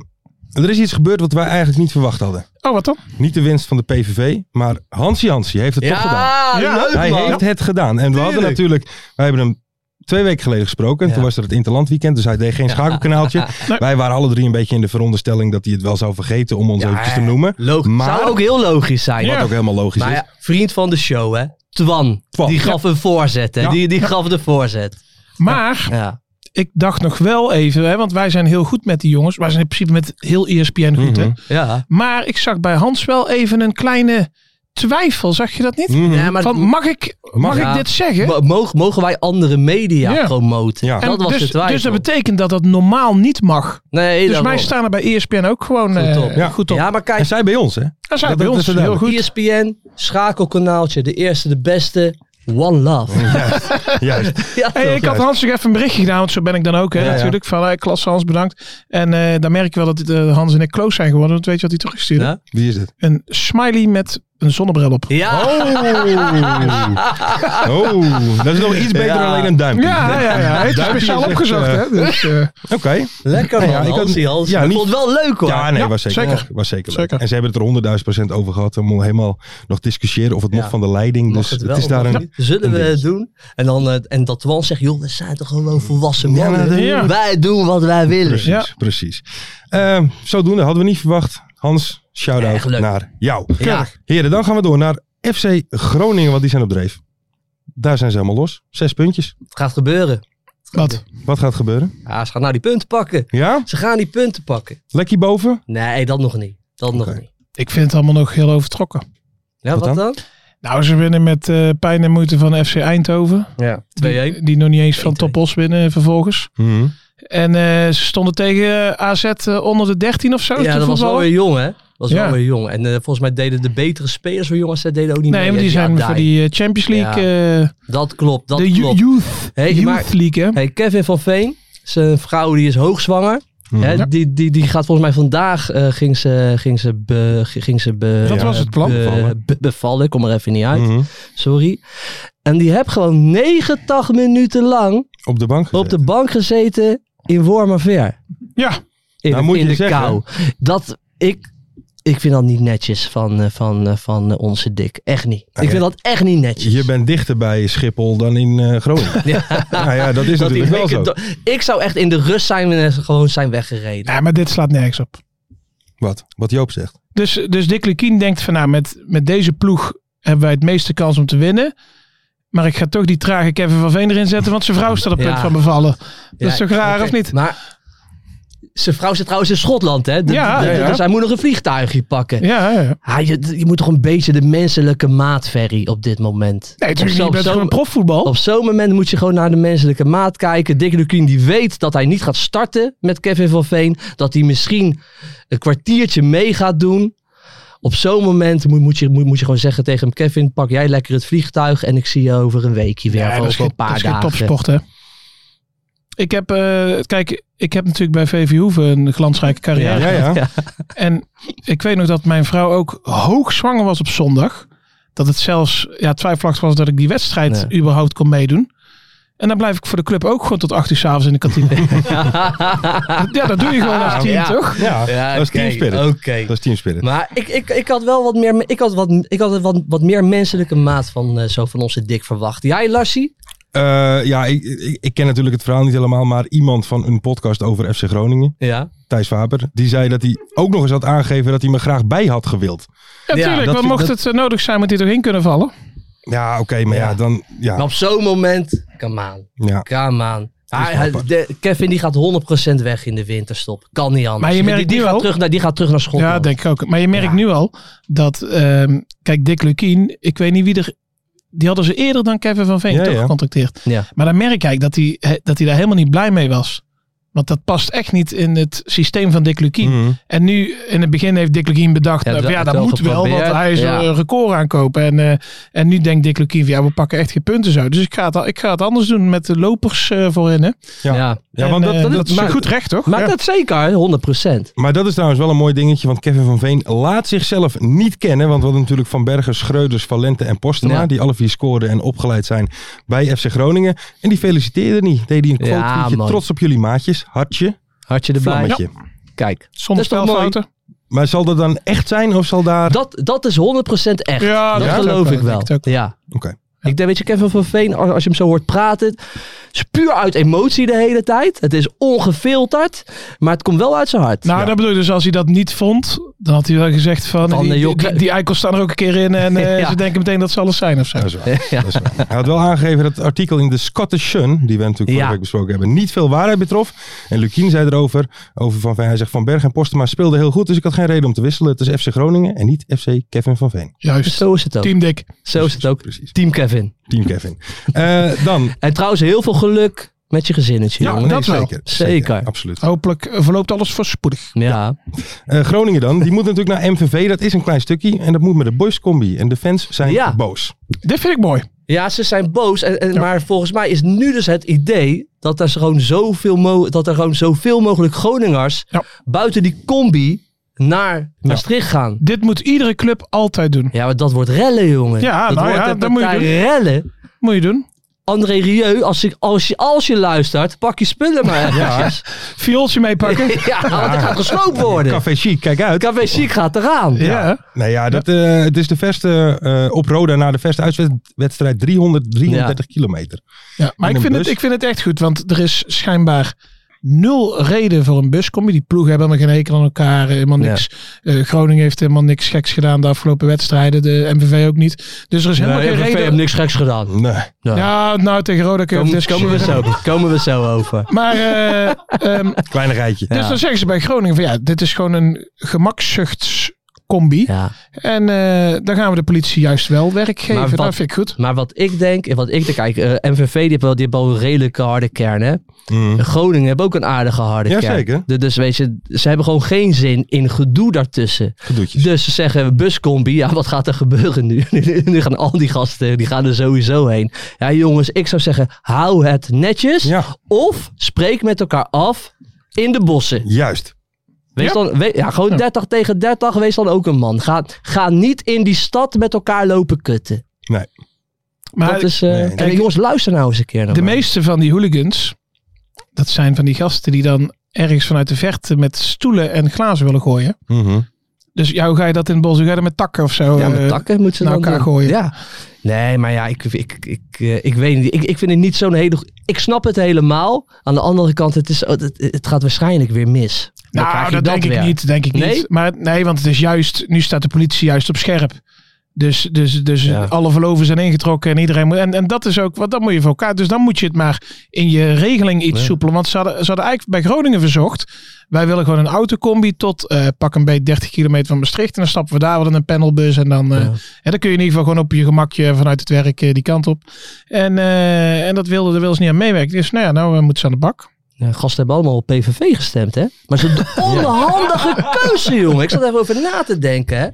[SPEAKER 4] er is iets gebeurd wat wij eigenlijk niet verwacht hadden.
[SPEAKER 6] Oh, wat dan?
[SPEAKER 4] Niet de winst van de PVV, maar Hansi Hansi heeft het toch gedaan.
[SPEAKER 5] Ja,
[SPEAKER 6] Ja,
[SPEAKER 5] leuk,
[SPEAKER 4] Hij
[SPEAKER 5] man.
[SPEAKER 4] heeft het gedaan. En we hadden
[SPEAKER 5] Tuurlijk.
[SPEAKER 4] natuurlijk, wij hebben hem twee weken geleden gesproken.
[SPEAKER 5] Ja.
[SPEAKER 4] Toen was er het Interland weekend, dus hij deed geen schakelkanaaltje.
[SPEAKER 6] Nee.
[SPEAKER 4] Wij waren alle drie een beetje in de veronderstelling dat hij het wel zou vergeten om ons
[SPEAKER 5] Ja,
[SPEAKER 4] eventjes te noemen.
[SPEAKER 5] Logisch.
[SPEAKER 4] Maar-
[SPEAKER 5] Zou ook heel logisch zijn.
[SPEAKER 4] Wat ook helemaal logisch
[SPEAKER 5] Maar
[SPEAKER 4] is.
[SPEAKER 5] ja, vriend van de show, hè? Twan.
[SPEAKER 4] Twan.
[SPEAKER 5] Die gaf een voorzet, hè?
[SPEAKER 4] Ja.
[SPEAKER 5] Die, die gaf de voorzet.
[SPEAKER 6] Maar
[SPEAKER 5] Ja.
[SPEAKER 6] ik dacht nog wel even, hè, want wij zijn heel goed met die jongens. Wij zijn in principe met heel E ESPN goed, hè?
[SPEAKER 4] Mhm.
[SPEAKER 5] Ja.
[SPEAKER 6] Maar ik zag bij Hans wel even een kleine twijfel, zag je dat niet?
[SPEAKER 4] Mhm.
[SPEAKER 5] ja maar
[SPEAKER 6] Van, mag ik, mag
[SPEAKER 5] Ja.
[SPEAKER 6] ik dit zeggen?
[SPEAKER 5] mo- mogen, mogen wij andere media
[SPEAKER 6] Ja.
[SPEAKER 5] promoten?
[SPEAKER 4] Ja.
[SPEAKER 5] Ja. Dat
[SPEAKER 6] En
[SPEAKER 5] was
[SPEAKER 6] dus,
[SPEAKER 5] de twijfel.
[SPEAKER 6] dus dat betekent dat dat normaal niet mag.
[SPEAKER 5] nee,
[SPEAKER 6] dus
[SPEAKER 5] daarom.
[SPEAKER 6] wij staan er bij ESPN ook gewoon
[SPEAKER 5] Goed
[SPEAKER 6] eh,
[SPEAKER 5] op.
[SPEAKER 4] Ja.
[SPEAKER 6] goed op.
[SPEAKER 5] Ja, maar kijk, E
[SPEAKER 4] En zij bij ons, hè?
[SPEAKER 6] Dat zijn
[SPEAKER 4] Dat-
[SPEAKER 6] bij
[SPEAKER 4] dat
[SPEAKER 6] ons
[SPEAKER 4] is
[SPEAKER 6] heel
[SPEAKER 4] duidelijk.
[SPEAKER 6] goed.
[SPEAKER 5] ESPN, schakelkanaaltje, de eerste, de beste. One love.
[SPEAKER 4] Juist.
[SPEAKER 5] Ja,
[SPEAKER 6] Hey, ik had
[SPEAKER 4] juist.
[SPEAKER 6] Hans nog even een berichtje gedaan, want zo ben ik dan ook. Hè,
[SPEAKER 4] Ja, ja.
[SPEAKER 6] natuurlijk. Van, eh, klasse Hans, bedankt. En eh daar merk ik wel dat eh, Hans en ik close zijn geworden. Want weet je wat hij teruggestuurd heeft?
[SPEAKER 5] Ja?
[SPEAKER 4] Wie is het?
[SPEAKER 6] Een smiley met een zonnebril op.
[SPEAKER 5] Ja.
[SPEAKER 4] Oh, dat is nog iets beter
[SPEAKER 5] Ja.
[SPEAKER 4] dan alleen een duimpje.
[SPEAKER 6] Ja, ja, ja. Hij heeft het
[SPEAKER 4] Duimpje
[SPEAKER 6] speciaal
[SPEAKER 4] is echt,
[SPEAKER 6] opgezocht.
[SPEAKER 4] eh,
[SPEAKER 6] hè? Dus, eh,
[SPEAKER 4] Oké.
[SPEAKER 5] Lekker man,
[SPEAKER 4] Ja, ik had-
[SPEAKER 5] Hansie, Hansie.
[SPEAKER 4] ja,
[SPEAKER 5] ik
[SPEAKER 4] niet-
[SPEAKER 5] vond het wel leuk hoor.
[SPEAKER 4] Ja, nee,
[SPEAKER 6] Ja,
[SPEAKER 4] was zeker,
[SPEAKER 6] zeker.
[SPEAKER 4] was zeker, leuk.
[SPEAKER 6] Zeker.
[SPEAKER 4] En ze hebben het er 100.000 over gehad. We moeten helemaal nog discussiëren of het
[SPEAKER 5] Ja.
[SPEAKER 4] mocht van de leiding.
[SPEAKER 5] Mag
[SPEAKER 4] Dus
[SPEAKER 5] het
[SPEAKER 4] het,
[SPEAKER 5] wel,
[SPEAKER 4] is daar
[SPEAKER 5] mag
[SPEAKER 4] een...
[SPEAKER 5] niet? Zullen
[SPEAKER 4] een
[SPEAKER 5] we
[SPEAKER 4] ding.
[SPEAKER 5] het doen? En, dan, eh, en dat Twan zegt, joh, we zijn toch gewoon volwassen
[SPEAKER 4] Ja,
[SPEAKER 5] mannen.
[SPEAKER 4] dat-
[SPEAKER 6] ja.
[SPEAKER 5] Wij doen wat wij willen.
[SPEAKER 4] Precies,
[SPEAKER 6] Ja.
[SPEAKER 4] precies. Ehm, zodoende hadden we niet verwacht. Hans,
[SPEAKER 5] Erg
[SPEAKER 4] shout-out
[SPEAKER 5] leuk.
[SPEAKER 4] naar jou.
[SPEAKER 5] Ja.
[SPEAKER 4] Heren, dan gaan we door naar FC Groningen, want die zijn op dreef. Daar zijn ze helemaal los. Zes puntjes.
[SPEAKER 5] Het gaat gebeuren.
[SPEAKER 6] wat?
[SPEAKER 4] Wat gaat gebeuren?
[SPEAKER 5] Ja, ze gaan nou die punten pakken.
[SPEAKER 4] Ja?
[SPEAKER 5] Ze gaan die punten pakken.
[SPEAKER 4] Lekkie boven?
[SPEAKER 5] Nee, dat nog niet. Dat nog
[SPEAKER 4] Oké.
[SPEAKER 5] niet.
[SPEAKER 6] Ik vind het allemaal nog heel overtrokken.
[SPEAKER 5] Ja,
[SPEAKER 4] Wat
[SPEAKER 5] wat, dan?
[SPEAKER 6] Nou, ze winnen met eh, pijn en moeite van FC Eindhoven.
[SPEAKER 5] Ja, 2-1.
[SPEAKER 6] Die, die nog niet eens van
[SPEAKER 5] 1-2.
[SPEAKER 6] Topos winnen vervolgens.
[SPEAKER 4] Mhm.
[SPEAKER 6] En eh, ze stonden tegen eh, AZ eh, onder de 13 of zo. te
[SPEAKER 5] Ja, dat was wel
[SPEAKER 6] voetballen.
[SPEAKER 5] weer jong, hè? was
[SPEAKER 6] Ja.
[SPEAKER 5] wel weer jong. En eh, volgens mij deden de betere spelers van jongens, dat deden ook niet
[SPEAKER 6] Nee,
[SPEAKER 5] mee.
[SPEAKER 6] maar die
[SPEAKER 5] hè? Ja,
[SPEAKER 6] zijn voor
[SPEAKER 5] daar.
[SPEAKER 6] die eh, Champions League. eh,
[SPEAKER 5] Dat klopt, dat
[SPEAKER 6] de
[SPEAKER 5] klopt.
[SPEAKER 6] Yo- Youth,
[SPEAKER 5] Hey,
[SPEAKER 6] youth
[SPEAKER 5] maar-
[SPEAKER 6] League, hè?
[SPEAKER 5] Hey, Kevin van Veen, zijn vrouw die is hoogzwanger.
[SPEAKER 6] Mhm.
[SPEAKER 5] Hè,
[SPEAKER 4] Ja.
[SPEAKER 5] die, die, die gaat volgens mij vandaag eh, ging ze, ging ze, be- ging ze be-
[SPEAKER 6] Dat
[SPEAKER 5] eh,
[SPEAKER 6] was het plan.
[SPEAKER 5] be-
[SPEAKER 4] Bevallen.
[SPEAKER 5] be- bevallen, ik kom er even niet uit.
[SPEAKER 4] Mhm.
[SPEAKER 5] Sorry. En die heb gewoon 90 minuten lang
[SPEAKER 4] Op de bank
[SPEAKER 5] op
[SPEAKER 4] gezet.
[SPEAKER 5] de bank gezeten in Wormerveer.
[SPEAKER 6] Ja.
[SPEAKER 5] In,
[SPEAKER 4] Nou, moet
[SPEAKER 5] in
[SPEAKER 4] je
[SPEAKER 5] de
[SPEAKER 4] zeggen.
[SPEAKER 5] kou. Dat, ik, ik vind dat niet netjes van, eh, van, eh, van eh, onze dik. Echt niet. Ik
[SPEAKER 4] Oké.
[SPEAKER 5] vind dat echt niet netjes.
[SPEAKER 4] Eh, Je bent dichter bij Schiphol dan in eh, Groningen.
[SPEAKER 5] Ja.
[SPEAKER 4] nou ja, dat is
[SPEAKER 5] Dat die
[SPEAKER 4] natuurlijk wel zo.
[SPEAKER 5] dikke do- ik zou echt in de rust zijn en gewoon zijn weggereden.
[SPEAKER 6] Nee, maar dit slaat nergens op.
[SPEAKER 4] Wat? Wat Joop zegt.
[SPEAKER 6] Dus, dus Dick Lukien denkt van nou, met, met deze ploeg hebben wij het meeste kans om te winnen. Maar ik ga toch die trage Kevin van Veen erin zetten, want zijn vrouw staat op punt
[SPEAKER 5] Ja.
[SPEAKER 6] van bevallen. Dat is
[SPEAKER 5] Ja,
[SPEAKER 6] toch raar,
[SPEAKER 5] oké.
[SPEAKER 6] of niet?
[SPEAKER 5] Maar zijn vrouw zit trouwens in Schotland, hè? De-
[SPEAKER 6] Ja,
[SPEAKER 5] de- de-
[SPEAKER 6] ja, ja.
[SPEAKER 5] Dus hij moet nog een vliegtuigje pakken.
[SPEAKER 6] Ja, ja.
[SPEAKER 5] Ja, je, je moet toch een beetje de menselijke maat, Ferry, op dit moment.
[SPEAKER 6] Nee,
[SPEAKER 5] Op
[SPEAKER 6] natuurlijk
[SPEAKER 5] zo-
[SPEAKER 6] niet. Met
[SPEAKER 5] zo-
[SPEAKER 6] gewoon profvoetbal.
[SPEAKER 5] Op zo'n moment moet je gewoon naar de menselijke maat kijken. Dick Lukien die weet dat hij niet gaat starten met Kevin van Veen. Dat hij misschien een kwartiertje mee gaat doen. Op zo'n moment moet, moet, je, moet, moet je gewoon zeggen tegen hem... Kevin, pak jij lekker het vliegtuig en ik zie je over een weekje weer.
[SPEAKER 6] Ja,
[SPEAKER 5] of
[SPEAKER 6] dat
[SPEAKER 5] over
[SPEAKER 6] is geen,
[SPEAKER 5] een paar
[SPEAKER 6] dat is geen
[SPEAKER 5] dagen.
[SPEAKER 6] topsport, hè? Ik heb, eh, kijk, ik heb natuurlijk bij VV Hoeven een glansrijke carrière.
[SPEAKER 4] Ja, ja.
[SPEAKER 5] Ja.
[SPEAKER 6] En ik weet nog dat mijn vrouw ook hoogzwanger was op zondag. Dat het zelfs ja, twijfelachtig was dat ik die wedstrijd überhaupt kon meedoen. En dan blijf ik voor de club ook gewoon tot 8 uur s'avonds in de kantine. ja, dat doe je gewoon als team,
[SPEAKER 5] Ja.
[SPEAKER 6] toch?
[SPEAKER 4] Ja, dat is
[SPEAKER 5] oké,
[SPEAKER 4] team spirit.
[SPEAKER 5] oké.
[SPEAKER 4] Dat is team spirit.
[SPEAKER 5] Maar ik, ik, ik had wel wat meer, ik had wat, ik had wat, wat meer menselijke maat van, eh, zo van onze Dick verwacht. Jij, Larsie?
[SPEAKER 4] Eh, ja, ik, ik, ik ken natuurlijk het verhaal niet helemaal, maar iemand van een podcast over FC Groningen,
[SPEAKER 5] Ja.
[SPEAKER 4] Thijs Faber, die zei dat hij ook nog eens had aangegeven dat hij me graag bij had gewild.
[SPEAKER 5] Ja,
[SPEAKER 6] Ja,
[SPEAKER 4] dat
[SPEAKER 6] tuurlijk. want
[SPEAKER 4] vind-
[SPEAKER 6] mocht
[SPEAKER 4] dat-
[SPEAKER 6] het eh, nodig zijn, moet hij toch in kunnen vallen?
[SPEAKER 4] Ja, oké, maar ja,
[SPEAKER 5] Ja. Nou,
[SPEAKER 4] dan...
[SPEAKER 5] Maar
[SPEAKER 4] Ja,
[SPEAKER 5] op zo'n moment, come on,
[SPEAKER 4] ja.
[SPEAKER 5] come on.
[SPEAKER 6] Ah,
[SPEAKER 5] Hij, hij-
[SPEAKER 4] apart.
[SPEAKER 5] de- Kevin die gaat 100% weg in de winterstop. Kan niet anders.
[SPEAKER 6] Maar je merkt
[SPEAKER 5] die, die
[SPEAKER 6] nu
[SPEAKER 5] gaat
[SPEAKER 6] al-
[SPEAKER 5] terug naar, die gaat terug naar Schotland.
[SPEAKER 6] Ja, denk ik ook. Maar je merkt
[SPEAKER 5] Ja.
[SPEAKER 6] nu al dat, ehm, kijk, Dick Lukien, ik weet niet wie er, die hadden ze eerder dan Kevin van Veen
[SPEAKER 4] Ja,
[SPEAKER 6] toch
[SPEAKER 4] ja.
[SPEAKER 6] gecontacteerd.
[SPEAKER 5] Ja.
[SPEAKER 6] Maar dan merk ik dat hij, he- dat hij daar helemaal niet blij mee was. Want dat past echt niet in het systeem van Dick Lukien.
[SPEAKER 4] Mhm.
[SPEAKER 6] En nu, in het begin heeft Dick Lukien bedacht,
[SPEAKER 5] Hmm. Ja,
[SPEAKER 6] nou, ja,
[SPEAKER 5] het
[SPEAKER 6] dat
[SPEAKER 5] wel
[SPEAKER 6] moet wel, want
[SPEAKER 5] geprobeerd,
[SPEAKER 6] hij is
[SPEAKER 5] ja.
[SPEAKER 6] een record aankopen. En, eh, en nu denkt Dick Lukien, van, ja, we pakken echt geen punten zo. Dus ik ga het, al- ik ga het anders doen met de lopers eh, voorin. Hè.
[SPEAKER 4] Ja.
[SPEAKER 5] Ja.
[SPEAKER 4] Ja, want
[SPEAKER 6] En,
[SPEAKER 4] dat,
[SPEAKER 6] eh,
[SPEAKER 4] dat,
[SPEAKER 6] dat is
[SPEAKER 5] maar-
[SPEAKER 6] goed recht, toch?
[SPEAKER 5] Maar
[SPEAKER 6] Ja.
[SPEAKER 5] dat zeker, hè, 100%.
[SPEAKER 4] Maar dat is trouwens wel een mooi dingetje, want Kevin van Veen laat zichzelf niet kennen. Want we hadden natuurlijk Van Bergen, Schreuders, Valente en Postema,
[SPEAKER 5] Ja.
[SPEAKER 4] die alle vier scoren en opgeleid zijn bij FC Groningen. En die feliciteerde niet. Deed hij een
[SPEAKER 5] Ja,
[SPEAKER 4] quote tweetje,
[SPEAKER 5] man.
[SPEAKER 4] trots op jullie maatjes, hartje,
[SPEAKER 5] Hartje erbij.
[SPEAKER 4] vlammetje.
[SPEAKER 5] Kijk.
[SPEAKER 6] Zonder
[SPEAKER 5] dat is toch mooi?
[SPEAKER 6] spelfouten.
[SPEAKER 4] Maar zal dat dan echt zijn of zal daar...
[SPEAKER 5] Dat, dat is 100% echt.
[SPEAKER 6] Ja,
[SPEAKER 5] dat
[SPEAKER 6] ja, dat
[SPEAKER 5] geloof
[SPEAKER 6] ook
[SPEAKER 5] ik
[SPEAKER 6] wel,
[SPEAKER 5] wel.
[SPEAKER 6] dat denk ik
[SPEAKER 5] Ja.
[SPEAKER 4] Oké.
[SPEAKER 5] Ik denk, weet je, Kevin van Veen, als als je hem zo hoort praten, is puur uit emotie de hele tijd. Het is ongefilterd, maar het komt wel uit zijn hart.
[SPEAKER 6] Nou, dat bedoel ik. Dus als hij dat niet vond, dan had hij wel gezegd van...
[SPEAKER 5] Van,
[SPEAKER 6] die,
[SPEAKER 5] eh, joh,
[SPEAKER 6] die, die eikels staan er ook een keer in en eh,
[SPEAKER 5] Ja.
[SPEAKER 6] ze denken meteen dat ze alles zijn of zo.
[SPEAKER 4] Dat is waar. Dat is waar. Hij had wel aangegeven dat het artikel in de Scottish Sun, die we natuurlijk vorige
[SPEAKER 5] Ja.
[SPEAKER 4] week besproken hebben, niet veel waarheid betrof. En Lukien zei erover, over Van Veen, hij zegt Van Bergen en Postema speelden heel goed, dus ik had geen reden om te wisselen. Het is FC Groningen en niet FC Kevin van Veen.
[SPEAKER 6] Juist.
[SPEAKER 5] Zo is het ook.
[SPEAKER 6] Team Dick.
[SPEAKER 5] Zo is het ook.
[SPEAKER 4] Precies.
[SPEAKER 5] Team Kevin.
[SPEAKER 4] Team Kevin. Eh, dan.
[SPEAKER 5] En trouwens, heel veel geluk met je gezinnetje,
[SPEAKER 4] Ja,
[SPEAKER 5] jongen.
[SPEAKER 4] nee,
[SPEAKER 6] dat wel.
[SPEAKER 4] zeker,
[SPEAKER 5] Zeker.
[SPEAKER 4] Absoluut.
[SPEAKER 6] Hopelijk eh, verloopt alles voorspoedig.
[SPEAKER 5] Ja.
[SPEAKER 4] Eh, Groningen dan. Die moet natuurlijk naar MVV. Dat is een klein stukje. En dat moet met de boys combi. En de fans zijn
[SPEAKER 5] Ja.
[SPEAKER 4] boos.
[SPEAKER 6] Dit vind ik mooi.
[SPEAKER 5] ja, ze zijn boos. En, en, Maar volgens mij is nu dus het idee dat er gewoon zoveel, mo dat er gewoon zoveel mogelijk Groningers
[SPEAKER 6] Ja.
[SPEAKER 5] buiten die combi naar Maastricht gaan.
[SPEAKER 6] Dit moet iedere club altijd doen.
[SPEAKER 5] Ja, maar dat wordt rellen, jongen.
[SPEAKER 6] Ja,
[SPEAKER 5] dat
[SPEAKER 6] nou
[SPEAKER 5] wordt
[SPEAKER 6] ja,
[SPEAKER 5] een
[SPEAKER 6] dat moet je
[SPEAKER 5] partij
[SPEAKER 6] doen.
[SPEAKER 5] rellen.
[SPEAKER 6] Moet je doen.
[SPEAKER 5] André Rieu, als, ik, als, je, als je luistert, pak je spullen maar eventjes.
[SPEAKER 6] Viooltje meepakken.
[SPEAKER 5] Ja, want er gaat gesloopt worden.
[SPEAKER 4] Café Chic, kijk uit.
[SPEAKER 5] Café Chic gaat eraan.
[SPEAKER 6] ja.
[SPEAKER 4] Nou ja, dat, eh, het is de verste eh, op Roda na de verste uitwedstrijd 333 kilometer.
[SPEAKER 6] Ja, maar
[SPEAKER 4] En
[SPEAKER 6] ik
[SPEAKER 4] een
[SPEAKER 6] vind, het,
[SPEAKER 4] bus.
[SPEAKER 6] ik vind het echt goed, want er is schijnbaar nul reden voor een buscombi. Die ploegen hebben helemaal geen hekel aan elkaar, eh, helemaal niks. Eh, Groningen heeft helemaal niks geks gedaan de afgelopen wedstrijden, de MVV ook niet. Dus er is helemaal
[SPEAKER 5] Nee,
[SPEAKER 6] geen
[SPEAKER 5] RVV heeft
[SPEAKER 6] reden.
[SPEAKER 5] niks geks gedaan.
[SPEAKER 4] Nee.
[SPEAKER 6] Ja, nou tegen Roda kun je
[SPEAKER 5] Komen,
[SPEAKER 6] over
[SPEAKER 5] komen, we
[SPEAKER 6] discussiëren.
[SPEAKER 5] zo, komen we zo over.
[SPEAKER 6] Maar, eh, ehm,
[SPEAKER 4] Kleinigheidje.
[SPEAKER 6] dus
[SPEAKER 5] Ja.
[SPEAKER 6] dan zeggen ze bij Groningen van ja, dit is gewoon een gemakzuchtscombi.
[SPEAKER 5] Ja.
[SPEAKER 6] En eh, dan gaan we de politie juist wel werk geven.
[SPEAKER 5] wat-
[SPEAKER 6] dat vind ik goed.
[SPEAKER 5] Maar wat ik denk, en wat ik denk, kijk, eh, MVV die heeft wel, die heeft wel een redelijke harde kern, hè.
[SPEAKER 4] Mm.
[SPEAKER 5] Groningen hebben ook een aardige harde
[SPEAKER 4] Ja,
[SPEAKER 5] kern.
[SPEAKER 4] zeker.
[SPEAKER 5] Dus, dus weet je, ze hebben gewoon geen zin in gedoe daartussen.
[SPEAKER 4] Gedoetjes.
[SPEAKER 5] Dus ze zeggen buscombi, ja wat gaat er gebeuren nu? nu gaan al die gasten, die gaan er sowieso heen. Ja jongens, ik zou zeggen, hou het netjes.
[SPEAKER 4] Ja,
[SPEAKER 5] Of spreek met elkaar af in de bossen.
[SPEAKER 4] juist.
[SPEAKER 5] Wees
[SPEAKER 6] Ja.
[SPEAKER 5] Dan, we- ja, gewoon
[SPEAKER 6] Ja.
[SPEAKER 5] 30 tegen 30, wees dan ook een man. Ga, ga niet in die stad met elkaar lopen kutten.
[SPEAKER 6] Maar
[SPEAKER 5] dat is, eh,
[SPEAKER 4] nee, nee.
[SPEAKER 5] kijk, jongens, luister nou eens een keer naar
[SPEAKER 6] De
[SPEAKER 5] mij.
[SPEAKER 6] meeste van die hooligans, dat zijn van die gasten die dan ergens vanuit de verte met stoelen en glazen willen gooien.
[SPEAKER 4] Mhm.
[SPEAKER 6] Dus ja, hoe ga je dat in het bos? Hoe ga je dat met takken of zo?
[SPEAKER 5] Ja,
[SPEAKER 6] eh,
[SPEAKER 5] met takken moeten ze
[SPEAKER 6] naar
[SPEAKER 5] dan
[SPEAKER 6] elkaar
[SPEAKER 5] doen.
[SPEAKER 6] gooien.
[SPEAKER 5] Ja. Nee, maar ja, ik, ik, ik, eh, ik weet niet. Ik, ik vind het niet zo'n hele... go- Ik snap het helemaal. Aan de andere kant, het, is, het, het gaat waarschijnlijk weer mis. Dan
[SPEAKER 6] Nou,
[SPEAKER 5] krijg je
[SPEAKER 6] dat, denk
[SPEAKER 5] weer.
[SPEAKER 6] ik niet, denk ik
[SPEAKER 5] Nee?
[SPEAKER 6] niet. Maar nee, want het is juist, nu staat de politie juist op scherp. Dus, dus, dus
[SPEAKER 5] Ja.
[SPEAKER 6] alle verloven zijn ingetrokken en iedereen moet. En, en dat is ook, want dat moet je voor elkaar. Dus dan moet je het maar in je regeling iets soepelen. Want ze hadden, ze hadden eigenlijk bij Groningen verzocht. Wij willen gewoon een autocombi tot eh, pak een beetje 30 kilometer van Maastricht. En dan stappen we daar wel in een panelbus. En dan, eh, en dan kun je in ieder geval gewoon op je gemakje vanuit het werk eh, die kant op. En, eh, en dat wilde, daar wilden ze niet aan meewerken. Dus nou ja, nou eh, moeten ze aan de bak.
[SPEAKER 5] Ja, gasten hebben allemaal op PVV gestemd, hè? Maar zo'n onhandige keuze, jongen. Ik zat even over na te denken, hè?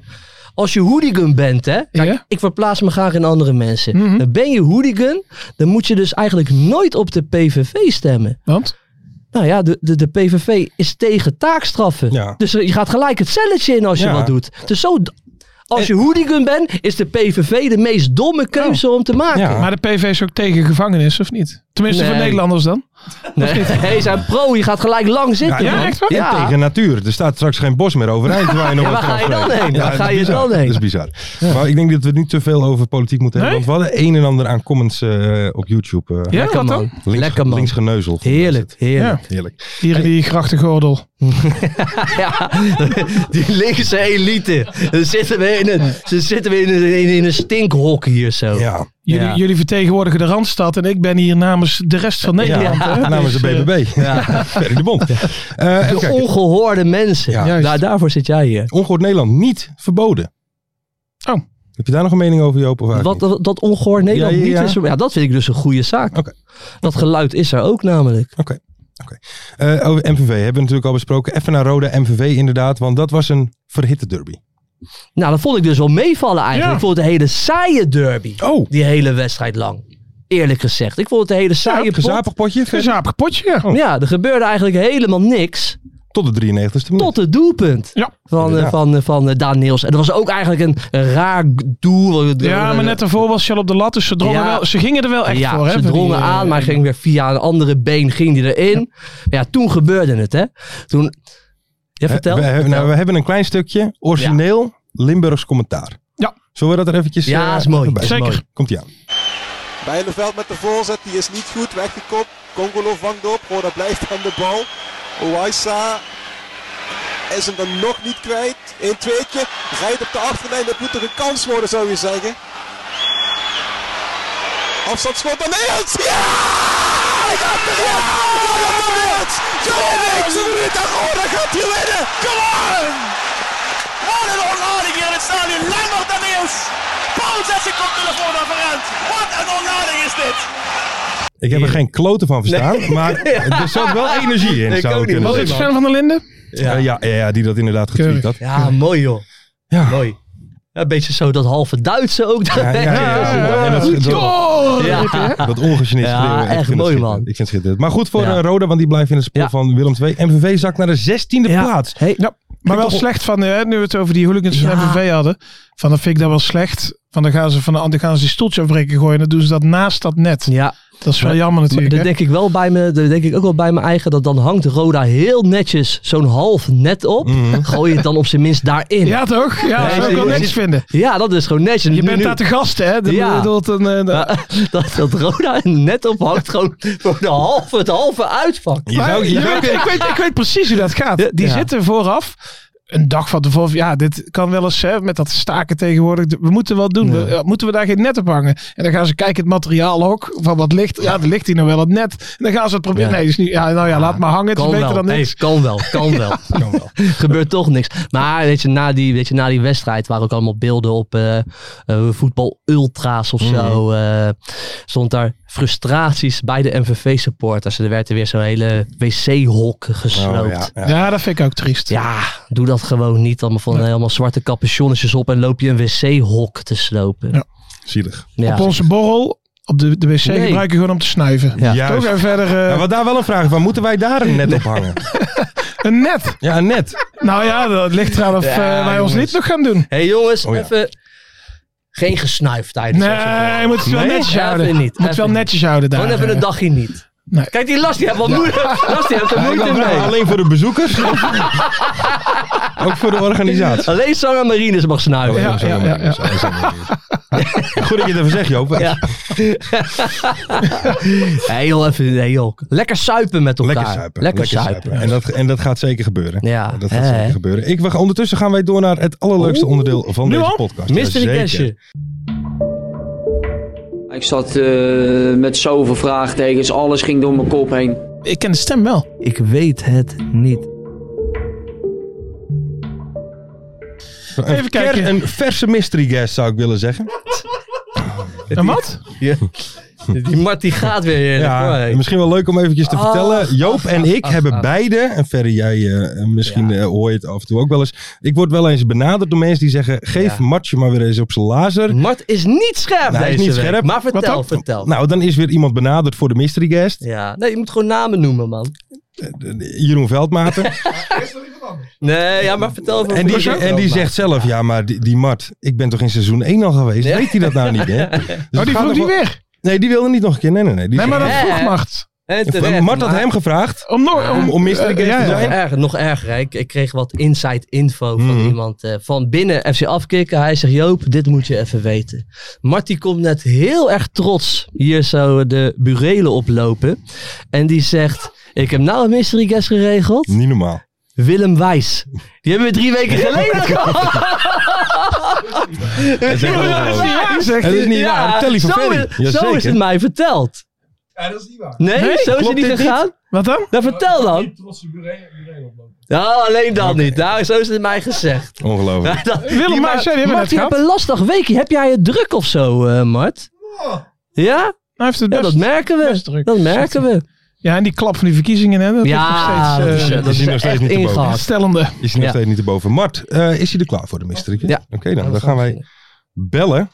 [SPEAKER 5] Als je hooligan bent, hè? Kijk,
[SPEAKER 6] Ja.
[SPEAKER 5] ik verplaats me graag in andere mensen.
[SPEAKER 6] Mhm.
[SPEAKER 5] Dan ben je hooligan, dan moet je dus eigenlijk nooit op de PVV stemmen.
[SPEAKER 6] Want?
[SPEAKER 5] Nou ja, de, de, de PVV is tegen taakstraffen.
[SPEAKER 4] Ja.
[SPEAKER 5] Dus je gaat gelijk het celletje in als je
[SPEAKER 4] Ja. Eh.
[SPEAKER 5] wat doet. Dus zo, als je hooligan bent, is de PVV de meest domme keuze om te maken.
[SPEAKER 4] Oh. Ja.
[SPEAKER 6] Maar de PV is ook tegen gevangenis, of niet? Tenminste voor
[SPEAKER 5] Nee.
[SPEAKER 6] Nederlanders dan.
[SPEAKER 5] Nee, hij zijn pro, je gaat gelijk lang zitten.
[SPEAKER 6] Ja,
[SPEAKER 5] man.
[SPEAKER 6] echt waar?
[SPEAKER 5] Ja.
[SPEAKER 4] Tegen natuur. Er staat straks geen bos meer overeind. Waar, je nog
[SPEAKER 5] Ja, waar
[SPEAKER 4] wat kan
[SPEAKER 5] ga je dan
[SPEAKER 4] vreten.
[SPEAKER 5] heen? Waar
[SPEAKER 4] dat
[SPEAKER 5] ga
[SPEAKER 4] is
[SPEAKER 5] je
[SPEAKER 4] bizar.
[SPEAKER 5] dan heen?
[SPEAKER 4] Dat is bizar. Maar ik denk dat we het niet te veel over politiek moeten hebben.
[SPEAKER 6] Nee?
[SPEAKER 4] Want we hadden een en ander aan comments eh, op YouTube. eh,
[SPEAKER 6] Ja,
[SPEAKER 5] Lekker
[SPEAKER 6] wat
[SPEAKER 5] man.
[SPEAKER 6] dan?
[SPEAKER 4] links,
[SPEAKER 5] Lekker man.
[SPEAKER 4] Linksgeneuzel.
[SPEAKER 5] Heerlijk, heerlijk.
[SPEAKER 4] Heerlijk.
[SPEAKER 6] Hier in die grachtengordel.
[SPEAKER 5] Ja. die linkse elite. Dan zitten we in een, ze zitten we in een, in, in een stinkhok hier zo.
[SPEAKER 4] Ja.
[SPEAKER 6] Jullie,
[SPEAKER 5] Ja.
[SPEAKER 6] jullie vertegenwoordigen de Randstad en ik ben hier namens de rest van Nederland. hè?
[SPEAKER 4] Namens de
[SPEAKER 6] Dus, eh,
[SPEAKER 4] BBB. Ja. Ferry de Bond. Eh, even
[SPEAKER 5] De
[SPEAKER 4] kijken.
[SPEAKER 5] ongehoorde mensen.
[SPEAKER 4] Ja.
[SPEAKER 5] Daar-
[SPEAKER 6] Juist.
[SPEAKER 5] daarvoor zit jij hier.
[SPEAKER 4] Ongehoord Nederland niet verboden.
[SPEAKER 6] Oh.
[SPEAKER 4] Heb je daar nog een mening over, Joop? Of
[SPEAKER 5] Wat,
[SPEAKER 4] eigenlijk
[SPEAKER 5] dat, dat ongehoord Nederland
[SPEAKER 4] Ja, ja, ja.
[SPEAKER 5] niet is. Ja, dat vind ik dus een goede zaak.
[SPEAKER 4] Oké.
[SPEAKER 5] Dat geluid is er ook namelijk.
[SPEAKER 4] niet? Eh, over MVV hebben we natuurlijk al besproken. Even naar Roda MVV inderdaad. Want dat was een verhitte derby.
[SPEAKER 5] Nou, dat vond ik dus wel meevallen eigenlijk.
[SPEAKER 6] Ja.
[SPEAKER 5] Ik vond het een hele saaie derby.
[SPEAKER 4] Oh.
[SPEAKER 5] Die hele wedstrijd lang. Eerlijk gezegd. Ik vond het een hele saaie pot.
[SPEAKER 4] Gezapig potje. Ferry?
[SPEAKER 6] Gezapig potje. eh, dus
[SPEAKER 4] Oh.
[SPEAKER 6] ja.
[SPEAKER 5] Ja, er gebeurde eigenlijk helemaal niks.
[SPEAKER 4] Tot de 93ste minuut.
[SPEAKER 5] Tot het doelpunt.
[SPEAKER 6] Ja.
[SPEAKER 5] Van, eh,
[SPEAKER 4] Inderdaad.
[SPEAKER 5] van, eh, van eh, Daan Niels. En dat was ook eigenlijk een een raar doel.
[SPEAKER 6] Ja, maar net daarvoor was Shell op de lat, dus ze, drongen
[SPEAKER 5] Ja.
[SPEAKER 6] wel, ze gingen er wel echt
[SPEAKER 5] Ja,
[SPEAKER 6] voor.
[SPEAKER 5] ze
[SPEAKER 6] Hè, voor die,
[SPEAKER 5] drongen
[SPEAKER 6] eh,
[SPEAKER 5] aan, maar ging weer via een andere been ging die erin. Ja, ja toen gebeurde het, hè. Toen... Ja, vertel.
[SPEAKER 4] We, we hebben-
[SPEAKER 5] vertel.
[SPEAKER 4] nou, we hebben een klein stukje origineel Limburgs commentaar.
[SPEAKER 6] Ja.
[SPEAKER 4] Zullen we dat er eventjes
[SPEAKER 5] Ja,
[SPEAKER 4] eh,
[SPEAKER 5] is mooi.
[SPEAKER 4] even bij?
[SPEAKER 6] Zeker.
[SPEAKER 4] Mooi. Komt-ie aan.
[SPEAKER 7] Bijleveld met de voorzet, die is niet goed weggekopt. Congolo vangt op, Roda blijft aan de bal. Owaisa is hem dan nog niet kwijt. Eén tweetje, rijdt op de achterlijn, dat moet toch een kans worden zou je zeggen. Afstandsschot aan Niels! Ja! Hij gaat erin! Roda Niels! Jovic, de minuut en Roda gaat hier winnen! Come on! Wat een ontlading hier in het stadion, Lambert en Niels! Paul zet zijn koptelefoon aan verrent. Wat een ontlading is dit!
[SPEAKER 4] Ik heb er geen kloten van verstaan, maar er zat wel energie in,
[SPEAKER 5] Ik
[SPEAKER 4] zou
[SPEAKER 5] ook
[SPEAKER 4] ik
[SPEAKER 5] niet.
[SPEAKER 4] kunnen
[SPEAKER 6] Was het
[SPEAKER 4] zeggen.
[SPEAKER 6] Sven van der Linden?
[SPEAKER 4] Eh, ja, ja, ja, die dat inderdaad getweet had.
[SPEAKER 5] Ja, mooi joh.
[SPEAKER 4] Ja.
[SPEAKER 5] Mooi. Ja, een beetje zo dat halve Duitse ook.
[SPEAKER 4] Ja, ja, ja, ja. En dat- dat-
[SPEAKER 6] Oh,
[SPEAKER 5] Ja.
[SPEAKER 4] Dat ongegeneerd
[SPEAKER 5] Ja,
[SPEAKER 4] schreeuwen. Ik
[SPEAKER 5] echt
[SPEAKER 4] vind het
[SPEAKER 5] mooi,
[SPEAKER 4] schitterend.
[SPEAKER 5] man.
[SPEAKER 4] Ik vind het schitterend. Maar goed voor
[SPEAKER 5] Ja.
[SPEAKER 4] eh, Roda, want die blijft in het spoor
[SPEAKER 5] Ja.
[SPEAKER 4] van Willem II. MVV zakt naar de 16e
[SPEAKER 5] Ja.
[SPEAKER 4] plaats. Oh,
[SPEAKER 5] Hey,
[SPEAKER 6] Ja, maar wel
[SPEAKER 4] toch-
[SPEAKER 6] slecht van, eh, nu we het over die hooligans van
[SPEAKER 5] Ja.
[SPEAKER 6] MVV hadden. Van dat vind ik dat wel slecht. Van dan gaan ze, van de, dan gaan ze die stoeltje afbreken gooien en dan doen ze dat naast dat net.
[SPEAKER 5] ja,
[SPEAKER 6] Dat is wel jammer
[SPEAKER 5] Maar
[SPEAKER 6] natuurlijk.
[SPEAKER 5] dat
[SPEAKER 6] hè?
[SPEAKER 5] denk ik wel bij me, dat denk ik ook wel bij mijn eigen, dat dan hangt Roda heel netjes zo'n half net op.
[SPEAKER 4] Mhm.
[SPEAKER 5] Gooi je het dan op zijn minst daarin.
[SPEAKER 6] Ja toch? Ja,
[SPEAKER 5] Ja,
[SPEAKER 6] dat zou ik wel
[SPEAKER 5] ja,
[SPEAKER 6] niks
[SPEAKER 5] ja.
[SPEAKER 6] vinden.
[SPEAKER 5] Ja, dat is gewoon netjes.
[SPEAKER 6] Je
[SPEAKER 5] Nu-
[SPEAKER 6] bent
[SPEAKER 5] nu-
[SPEAKER 6] daar te gast hè? Dat
[SPEAKER 5] Ja.
[SPEAKER 6] bedoelt een, eh,
[SPEAKER 5] Ja, dat, dat Roda een net op hangt, gewoon voor de halve, het halve uitvak.
[SPEAKER 4] Je
[SPEAKER 6] Maar
[SPEAKER 4] zou, je
[SPEAKER 6] je
[SPEAKER 4] zou-
[SPEAKER 6] weet, ik, weet, ik weet precies hoe dat
[SPEAKER 5] Ja,
[SPEAKER 6] gaat. Die
[SPEAKER 5] ja.
[SPEAKER 6] zitten vooraf. Een dag van tevoren. Ja, dit kan wel eens hè, met dat staken tegenwoordig. We moeten wat doen. We- eh, moeten we daar geen net op hangen? En dan gaan ze kijken het materiaal ook. Van wat ligt. Ja, er ligt hier nog wel het net. En dan gaan ze het proberen.
[SPEAKER 5] Ja.
[SPEAKER 6] Nee, is niet, ja, nou ja, laat maar hangen. Het is
[SPEAKER 5] Kan
[SPEAKER 6] beter
[SPEAKER 5] wel.
[SPEAKER 6] dan niks.
[SPEAKER 5] Hey, kan wel, kan wel. Gebeurt toch niks. Maar weet je, na die, weet je, na die wedstrijd waren ook allemaal beelden op eh voetbal-ultra's of
[SPEAKER 6] Mm.
[SPEAKER 5] zo. eh, stond daar frustraties bij de MVV-supporters. Er werd er weer zo'n hele wc-hok gesloopt.
[SPEAKER 4] Oh,
[SPEAKER 5] ja.
[SPEAKER 4] ja, ja.
[SPEAKER 6] ja. dat vind ik ook triest.
[SPEAKER 5] doe dat gewoon niet. Allemaal van helemaal zwarte capuchonnetjes op en loop je een wc-hok te slopen.
[SPEAKER 6] Ja.
[SPEAKER 4] Zielig.
[SPEAKER 5] Ja.
[SPEAKER 6] Op onze borrel. Op de, de wc
[SPEAKER 5] Nee.
[SPEAKER 6] gebruiken gewoon om te snuiven.
[SPEAKER 5] Ja.
[SPEAKER 4] Juist.
[SPEAKER 6] Toch en verder eh,
[SPEAKER 4] Ja, wat daar wel een vraag is, waar moeten wij daar een net op hangen?
[SPEAKER 6] een net.
[SPEAKER 4] Ja, een net.
[SPEAKER 6] Nou ja, dat ligt eraan of
[SPEAKER 5] Ja,
[SPEAKER 6] eh, wij ons
[SPEAKER 5] jongens.
[SPEAKER 6] niet nog gaan doen.
[SPEAKER 5] Hé hey jongens,
[SPEAKER 4] Oh ja.
[SPEAKER 5] even geen gesnuif tijdens
[SPEAKER 6] Nee,
[SPEAKER 5] deze
[SPEAKER 6] je moet het wel
[SPEAKER 4] Nee?
[SPEAKER 6] netjes
[SPEAKER 5] Even
[SPEAKER 6] houden.
[SPEAKER 5] niet,
[SPEAKER 6] Moet het
[SPEAKER 5] even
[SPEAKER 6] wel
[SPEAKER 5] niet.
[SPEAKER 6] netjes houden daar.
[SPEAKER 5] Gewoon even
[SPEAKER 6] eh.
[SPEAKER 5] een dagje niet.
[SPEAKER 6] Nee.
[SPEAKER 5] Kijk, die last die heeft wel moeite. Last die heeft er
[SPEAKER 4] Ja, ik
[SPEAKER 5] moeite
[SPEAKER 4] wou vragen,
[SPEAKER 5] mee.
[SPEAKER 4] alleen voor de bezoekers? Ook voor de organisatie? Oh,
[SPEAKER 5] Alleen Sarah Marines mag snuiven.
[SPEAKER 6] Ja, ja, ja, ja.
[SPEAKER 4] Goed dat je het even zegt, Joop.
[SPEAKER 5] Ja. heel even, heel. Lekker suipen met elkaar.
[SPEAKER 4] Lekker suipen.
[SPEAKER 5] Lekker, suipen.
[SPEAKER 4] suipen. En, dat, en dat gaat zeker gebeuren.
[SPEAKER 5] Ja,
[SPEAKER 4] Dat gaat
[SPEAKER 5] hè, hè?
[SPEAKER 4] zeker gebeuren. Ik wacht, ondertussen gaan wij door naar het allerleukste
[SPEAKER 5] Oeh.
[SPEAKER 4] onderdeel van
[SPEAKER 5] Nu
[SPEAKER 4] deze
[SPEAKER 5] al?
[SPEAKER 4] podcast.
[SPEAKER 5] Mystery
[SPEAKER 4] Jazeker.
[SPEAKER 5] Cashje.
[SPEAKER 8] Ik zat eh, met zoveel vraagtekens, alles ging door mijn kop heen.
[SPEAKER 6] Ik ken de stem wel.
[SPEAKER 5] Ik weet het niet.
[SPEAKER 4] Een,
[SPEAKER 6] Even
[SPEAKER 4] ver-
[SPEAKER 6] kijken.
[SPEAKER 4] een verse mystery guest zou ik willen zeggen.
[SPEAKER 6] En wat?
[SPEAKER 5] Die Mart die gaat weer. heerlijk, hoor,
[SPEAKER 4] Ja,
[SPEAKER 5] hé.
[SPEAKER 4] misschien wel leuk om eventjes te
[SPEAKER 5] Ah,
[SPEAKER 4] vertellen. Joop en ik
[SPEAKER 5] ah,
[SPEAKER 4] hebben
[SPEAKER 5] ah.
[SPEAKER 4] beide, en Ferry, jij eh, misschien eh, hoor je het af en toe ook wel eens. Ik word wel eens benaderd door mensen die zeggen, geef
[SPEAKER 5] Ja.
[SPEAKER 4] Martje maar weer eens op zijn lazer.
[SPEAKER 6] Nou.
[SPEAKER 5] Mart is niet scherp
[SPEAKER 4] Nou, hij
[SPEAKER 5] deze
[SPEAKER 4] is niet
[SPEAKER 5] week.
[SPEAKER 4] scherp.
[SPEAKER 5] Maar vertel,
[SPEAKER 4] dan?
[SPEAKER 5] vertel.
[SPEAKER 4] Nou, dan is weer iemand benaderd voor de mystery guest. Eh,
[SPEAKER 5] Ja. Nee, je moet gewoon namen noemen, man.
[SPEAKER 4] Jeroen Veldmaten.
[SPEAKER 5] Nee, ja, maar vertel even.
[SPEAKER 4] En die, en die zegt zelf, ja, maar die, die Mart, ik ben toch in seizoen 1 al geweest? Weet hij dat nou niet, hè? Dus
[SPEAKER 6] Oh,
[SPEAKER 4] het
[SPEAKER 6] die
[SPEAKER 4] gaat
[SPEAKER 6] vroeg
[SPEAKER 4] nog
[SPEAKER 6] niet
[SPEAKER 4] wel-
[SPEAKER 6] weg.
[SPEAKER 4] Nee, die wilde niet nog een keer. Nee, nee, nee. Die
[SPEAKER 6] Nee, maar dat
[SPEAKER 4] zei-
[SPEAKER 5] Ja.
[SPEAKER 6] vroeg macht.
[SPEAKER 5] En
[SPEAKER 4] Eh,
[SPEAKER 5] terecht,
[SPEAKER 4] Mart had
[SPEAKER 5] maar-
[SPEAKER 4] hem gevraagd
[SPEAKER 6] Om, nooit
[SPEAKER 4] om, om mystery guest
[SPEAKER 6] Eh, ja,
[SPEAKER 4] te
[SPEAKER 6] ja.
[SPEAKER 4] zijn.
[SPEAKER 5] Erger, nog erger. hè. Ik, ik kreeg wat inside info van
[SPEAKER 4] Mhm.
[SPEAKER 5] iemand eh, van binnen FC Afkikken. Hij zegt, Joop, dit moet je even weten. Marty komt net heel erg trots hier zo de burelen oplopen. En die zegt, ik heb nou een mystery guest geregeld.
[SPEAKER 4] Niet normaal.
[SPEAKER 5] Willem Wijs. Die hebben we drie weken geleden gehad.
[SPEAKER 4] is echt
[SPEAKER 5] Willem Wijs.
[SPEAKER 4] ongelooflijk.
[SPEAKER 6] Ja, zegt
[SPEAKER 4] Het is
[SPEAKER 6] hij.
[SPEAKER 4] niet waar. Vertel die van
[SPEAKER 5] zo,
[SPEAKER 4] Ferry.
[SPEAKER 5] is, zo is
[SPEAKER 4] Jazeker.
[SPEAKER 5] het mij verteld. Ja, dat is niet waar. Nee,
[SPEAKER 6] Nee,
[SPEAKER 5] zo is
[SPEAKER 6] klopt
[SPEAKER 5] het niet
[SPEAKER 6] dit
[SPEAKER 5] gegaan.
[SPEAKER 6] Wat dan?
[SPEAKER 5] Nou, vertel dan. Ja, alleen dat niet. Nou, zo is het mij gezegd.
[SPEAKER 4] Ongelooflijk.
[SPEAKER 5] Ja, dat-
[SPEAKER 6] Willem, maar,
[SPEAKER 5] maar-
[SPEAKER 6] zei, die hebben we
[SPEAKER 5] Mart,
[SPEAKER 6] net
[SPEAKER 5] je hebt
[SPEAKER 6] gehad.
[SPEAKER 5] een lastig weekje. Heb jij het druk of zo, eh, Mart? Ja?
[SPEAKER 6] Hij heeft het
[SPEAKER 5] ja,
[SPEAKER 6] best.
[SPEAKER 5] dat merken
[SPEAKER 6] best
[SPEAKER 5] we.
[SPEAKER 6] druk.
[SPEAKER 5] Dat merken we.
[SPEAKER 6] Ja, en die klap van die verkiezingen, hè, dat
[SPEAKER 5] Ja,
[SPEAKER 6] is nog
[SPEAKER 5] dat
[SPEAKER 6] steeds
[SPEAKER 5] is,
[SPEAKER 6] eh,
[SPEAKER 5] eh, dat is
[SPEAKER 4] is hier nog steeds
[SPEAKER 5] echt
[SPEAKER 4] niet te boven.
[SPEAKER 5] ingehaald.
[SPEAKER 6] stellende.
[SPEAKER 4] Is hij nog
[SPEAKER 5] Ja.
[SPEAKER 4] steeds niet erboven. Mart, eh, is hij er klaar voor de mystery guest?
[SPEAKER 5] Ja.
[SPEAKER 4] Oké, nou, dan, dan gaan wij bellen.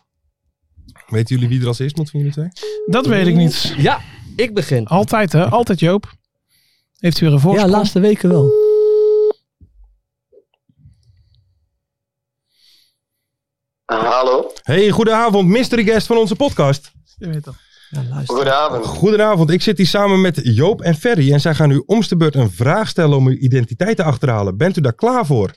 [SPEAKER 4] Weten jullie wie er als eerst moet van jullie twee?
[SPEAKER 6] Dat weet ik niet.
[SPEAKER 5] Ja, ik begin.
[SPEAKER 6] Altijd, hè? Altijd Joop. Heeft u weer een
[SPEAKER 5] Ja,
[SPEAKER 6] voorsprong?
[SPEAKER 5] laatste weken wel.
[SPEAKER 9] Eh, Hallo,
[SPEAKER 4] Hey, goedenavond, mystery guest van onze podcast.
[SPEAKER 6] Je weet dat.
[SPEAKER 5] Ja, luister.
[SPEAKER 9] goedenavond.
[SPEAKER 4] Goedenavond, ik zit hier samen met Joop en Ferry en zij gaan u omste beurt een vraag stellen om uw identiteit te achterhalen. Bent u daar klaar voor?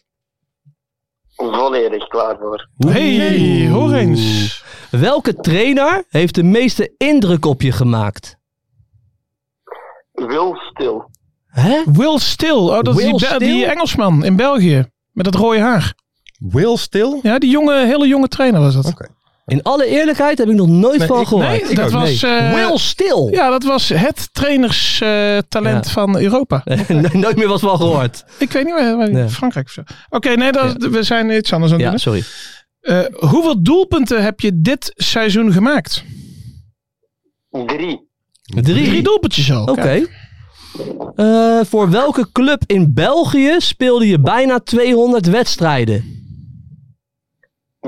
[SPEAKER 9] Volledig klaar voor.
[SPEAKER 6] Hey, hoor eens.
[SPEAKER 5] Welke trainer heeft de meeste indruk op je gemaakt?
[SPEAKER 9] Wil stil.
[SPEAKER 5] Hè?
[SPEAKER 6] Will Still. Oh, dat
[SPEAKER 5] Will
[SPEAKER 6] is die, Be- die
[SPEAKER 5] Still?
[SPEAKER 6] Engelsman in België. Met dat rode haar.
[SPEAKER 4] Will Still?
[SPEAKER 6] Ja, die jonge, hele jonge trainer was dat.
[SPEAKER 4] Oké.
[SPEAKER 5] In alle eerlijkheid heb ik nog nooit
[SPEAKER 4] Nee,
[SPEAKER 5] van
[SPEAKER 4] ik-
[SPEAKER 5] gehoord.
[SPEAKER 6] Nee, dat
[SPEAKER 4] ook,
[SPEAKER 6] was... eh,
[SPEAKER 5] Will Stil.
[SPEAKER 6] Ja, dat was het trainerstalent talent
[SPEAKER 5] Ja.
[SPEAKER 6] van Europa.
[SPEAKER 5] nooit meer wat van gehoord.
[SPEAKER 6] Ik weet niet waar, waar-
[SPEAKER 5] Nee.
[SPEAKER 6] Frankrijk of zo. Oké, nee, dat, we zijn iets anders aan het
[SPEAKER 5] Ja,
[SPEAKER 6] doen.
[SPEAKER 5] sorry.
[SPEAKER 6] Eh, hoeveel doelpunten heb je dit seizoen gemaakt?
[SPEAKER 9] Drie.
[SPEAKER 5] Drie.
[SPEAKER 6] Drie doelpuntjes al.
[SPEAKER 5] Oké.
[SPEAKER 6] Kijk.
[SPEAKER 5] Eh, voor welke club in België speelde je bijna 200 wedstrijden?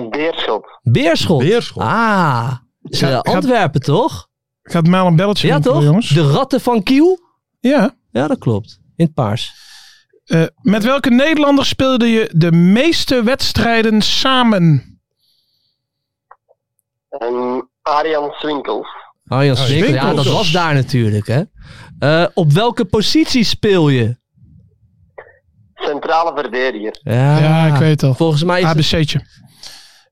[SPEAKER 9] Beerschot.
[SPEAKER 5] Beerschot.
[SPEAKER 4] Beerschot.
[SPEAKER 5] Ah, is, eh,
[SPEAKER 6] Gaat- gaat-
[SPEAKER 5] Antwerpen toch?
[SPEAKER 6] Gaat Maal een belletje
[SPEAKER 5] Ja
[SPEAKER 6] rinkelen,
[SPEAKER 5] toch?
[SPEAKER 6] jongens.
[SPEAKER 5] De ratten van Kiel?
[SPEAKER 6] Ja.
[SPEAKER 5] Ja, dat klopt. In het paars.
[SPEAKER 6] Eh, met welke Nederlander speelde je de meeste wedstrijden samen?
[SPEAKER 9] En Arjan Swinkels.
[SPEAKER 5] Arjan
[SPEAKER 4] Ja,
[SPEAKER 5] Smikker, ja, dat
[SPEAKER 4] Smikkels.
[SPEAKER 5] was daar natuurlijk. Hè. Eh, op welke positie speel je?
[SPEAKER 9] Centrale verdediger.
[SPEAKER 5] Ja,
[SPEAKER 6] ja, ik weet het al.
[SPEAKER 5] Ah. Volgens mij is het...
[SPEAKER 6] ABC'tje.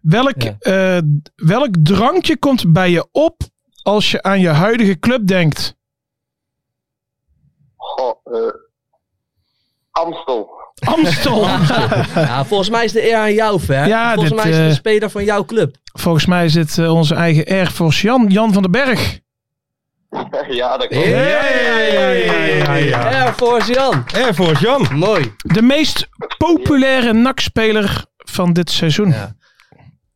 [SPEAKER 6] Welk,
[SPEAKER 5] Ja.
[SPEAKER 6] eh, welk drankje komt bij je op als je aan je huidige club denkt?
[SPEAKER 9] Goh, eh, Amstel.
[SPEAKER 6] Amstel.
[SPEAKER 5] Ja, volgens mij is de eer aan jou, Ver.
[SPEAKER 6] Ja,
[SPEAKER 5] volgens
[SPEAKER 6] dit,
[SPEAKER 5] mij is het
[SPEAKER 6] eh,
[SPEAKER 5] de speler van jouw club.
[SPEAKER 6] Volgens mij zit eh, onze eigen Air Force Jan, Jan van den Berg.
[SPEAKER 9] ja,
[SPEAKER 5] Ja,
[SPEAKER 9] dat klopt.
[SPEAKER 5] ja, ja, ja, ja. Air Force Jan.
[SPEAKER 4] Air Force Jan.
[SPEAKER 5] Mooi.
[SPEAKER 6] De meest populaire NAC-speler van dit seizoen.
[SPEAKER 5] Ja.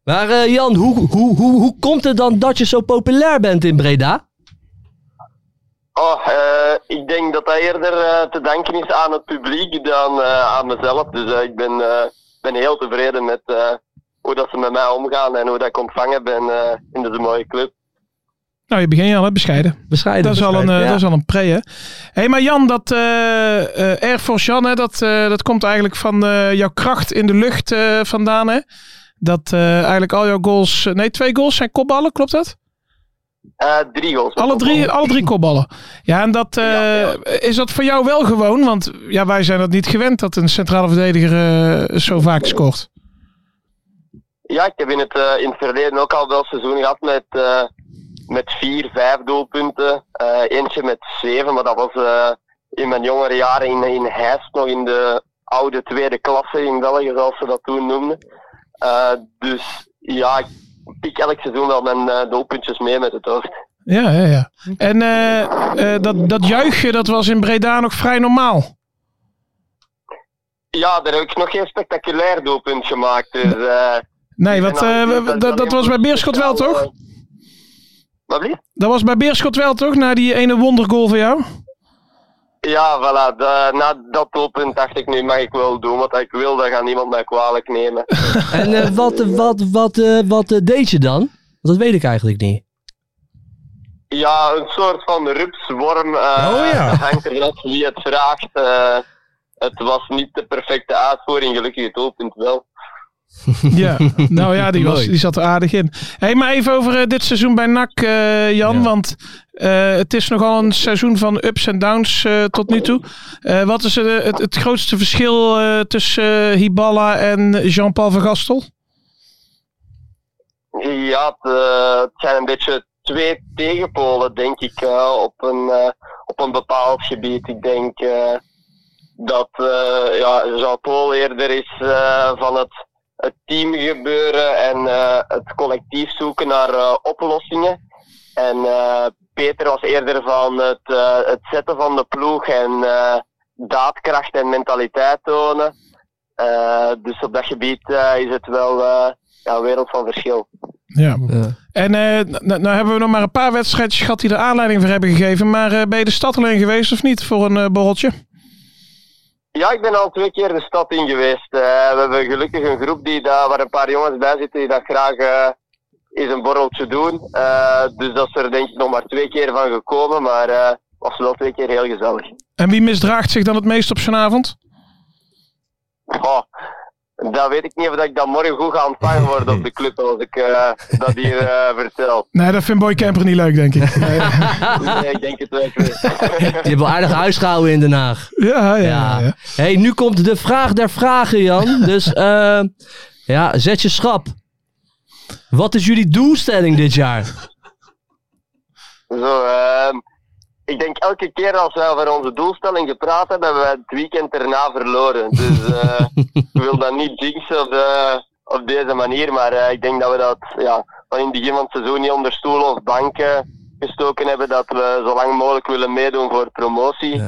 [SPEAKER 5] Maar eh, Jan, hoe, hoe, hoe, hoe komt het dan dat je zo populair bent in Breda?
[SPEAKER 9] Oh, eh, ik denk dat dat eerder eh, te danken is aan het publiek dan eh, aan mezelf. Dus eh, ik ben, eh, ben heel tevreden met eh, hoe dat ze met mij omgaan en hoe dat ik ontvangen ben eh, in deze mooie club.
[SPEAKER 6] Nou, je begint al, hè? Bescheiden.
[SPEAKER 5] Bescheiden.
[SPEAKER 6] Dat is al een, eh,
[SPEAKER 5] bescheiden, ja.
[SPEAKER 6] dat is al een pre, hè? Hé, maar Jan, dat eh, eh, Air Force Jan, hè, dat, eh, dat komt eigenlijk van eh, jouw kracht in de lucht eh, vandaan, hè? Dat eh, eigenlijk al jouw goals... Nee, twee goals zijn kopballen, klopt dat?
[SPEAKER 9] Eh, drie goals.
[SPEAKER 6] Alle drie, alle drie kopballen. Ja, en dat, eh, is dat voor jou wel gewoon? Want ja, wij zijn dat niet gewend dat een centrale verdediger eh, zo vaak scoort.
[SPEAKER 9] Ja, ik heb in het, eh, in het verleden ook al wel seizoen gehad met, eh, met vier, vijf doelpunten. Eh, eentje met zeven, maar dat was eh, in mijn jongere jaren in, in Heist, nog in de oude tweede klasse in België, zoals ze dat toen noemden. Eh, dus ja, ik pik elk seizoen wel mijn eh, doelpuntjes mee met het hoofd.
[SPEAKER 6] Ja, ja, ja. En eh, eh, dat, dat juichje, dat was in Breda nog vrij normaal.
[SPEAKER 9] Ja, daar heb ik nog geen spectaculair doelpunt gemaakt. Dus, eh,
[SPEAKER 6] Nee,
[SPEAKER 9] ik
[SPEAKER 6] wat,
[SPEAKER 9] ben
[SPEAKER 6] eh,
[SPEAKER 9] altijd-
[SPEAKER 6] dat, dat, was bij Beerschot wel, toch?
[SPEAKER 9] Wat blieft?
[SPEAKER 6] Dat was bij Beerschot wel, toch? Na die ene wondergoal van jou?
[SPEAKER 9] Ja, voilà. Da- na dat doelpunt dacht ik, nu mag ik wel doen wat ik wil. Dan gaat niemand mij kwalijk nemen.
[SPEAKER 5] En eh, wat, eh, wat, wat, eh, wat eh, deed je dan? Want Dat weet ik eigenlijk niet.
[SPEAKER 9] ja, een soort van rupsworm. eh,
[SPEAKER 4] Oh ja.
[SPEAKER 9] Het hangt er af wie het vraagt. eh, het was niet de perfecte uitvoering, gelukkig het doelpunt wel.
[SPEAKER 6] Ja, nou ja, die, was,
[SPEAKER 5] Mooi.
[SPEAKER 6] die zat er aardig in. hey, maar even over eh, dit seizoen bij NAC, eh, Jan. Want eh, het is nogal een seizoen van ups en downs eh, tot nu toe. Eh, wat is eh, het, het grootste verschil eh, tussen eh, Hiballa en Jean-Paul van Gastel?
[SPEAKER 9] Ja, het, eh, het zijn een beetje twee tegenpolen, denk ik, eh, op, een, eh, op een bepaald gebied. Ik denk eh, dat eh, ja, Jean-Paul eerder is eh, van het, het teamgebeuren en eh, het collectief zoeken naar eh, oplossingen. En eh, Peter was eerder van het, eh, het zetten van de ploeg en eh, daadkracht en mentaliteit tonen. Eh, dus op dat gebied eh, is het wel eh, ja, een wereld van verschil.
[SPEAKER 6] Ja.
[SPEAKER 5] Ja.
[SPEAKER 6] En eh, n- nou hebben we nog maar een paar wedstrijdjes gehad die er aanleiding voor hebben gegeven. Maar eh, ben je de stad alleen geweest of niet voor een eh, borreltje?
[SPEAKER 9] Ja, ik ben al twee keer de stad in geweest. Eh, we hebben gelukkig een groep die daar, waar een paar jongens bij zitten die dat graag eh, eens een borreltje doen. Eh, dus dat is er denk ik nog maar twee keer van gekomen, maar eh was wel twee keer heel gezellig.
[SPEAKER 6] En wie misdraagt zich dan het meest op zijn avond?
[SPEAKER 9] Goh, dat weet ik niet of dat ik dan morgen goed ga ontvangen worden op de club als ik eh, dat hier eh, vertel.
[SPEAKER 6] Nee, dat vindt Boy Camper niet leuk, denk ik. Nee.
[SPEAKER 9] Nee, ik denk het wel.
[SPEAKER 5] Je hebt wel aardig huisgehouden in Den Haag.
[SPEAKER 6] ja, ja, ja.
[SPEAKER 5] Ja.
[SPEAKER 6] ja.
[SPEAKER 5] hey, nu komt de vraag der vragen, Jan. Dus eh, ja, zet je schrap. Wat is jullie doelstelling dit jaar?
[SPEAKER 9] Zo, ehm, ik denk elke keer als wij over onze doelstelling gepraat hebben, hebben wij het weekend erna verloren. Dus eh, ik wil dat niet jinxen op, de- op deze manier, maar eh, ik denk dat we dat ja, van in het begin van het seizoen niet onder stoelen of banken gestoken hebben, dat we zo lang mogelijk willen meedoen voor promotie.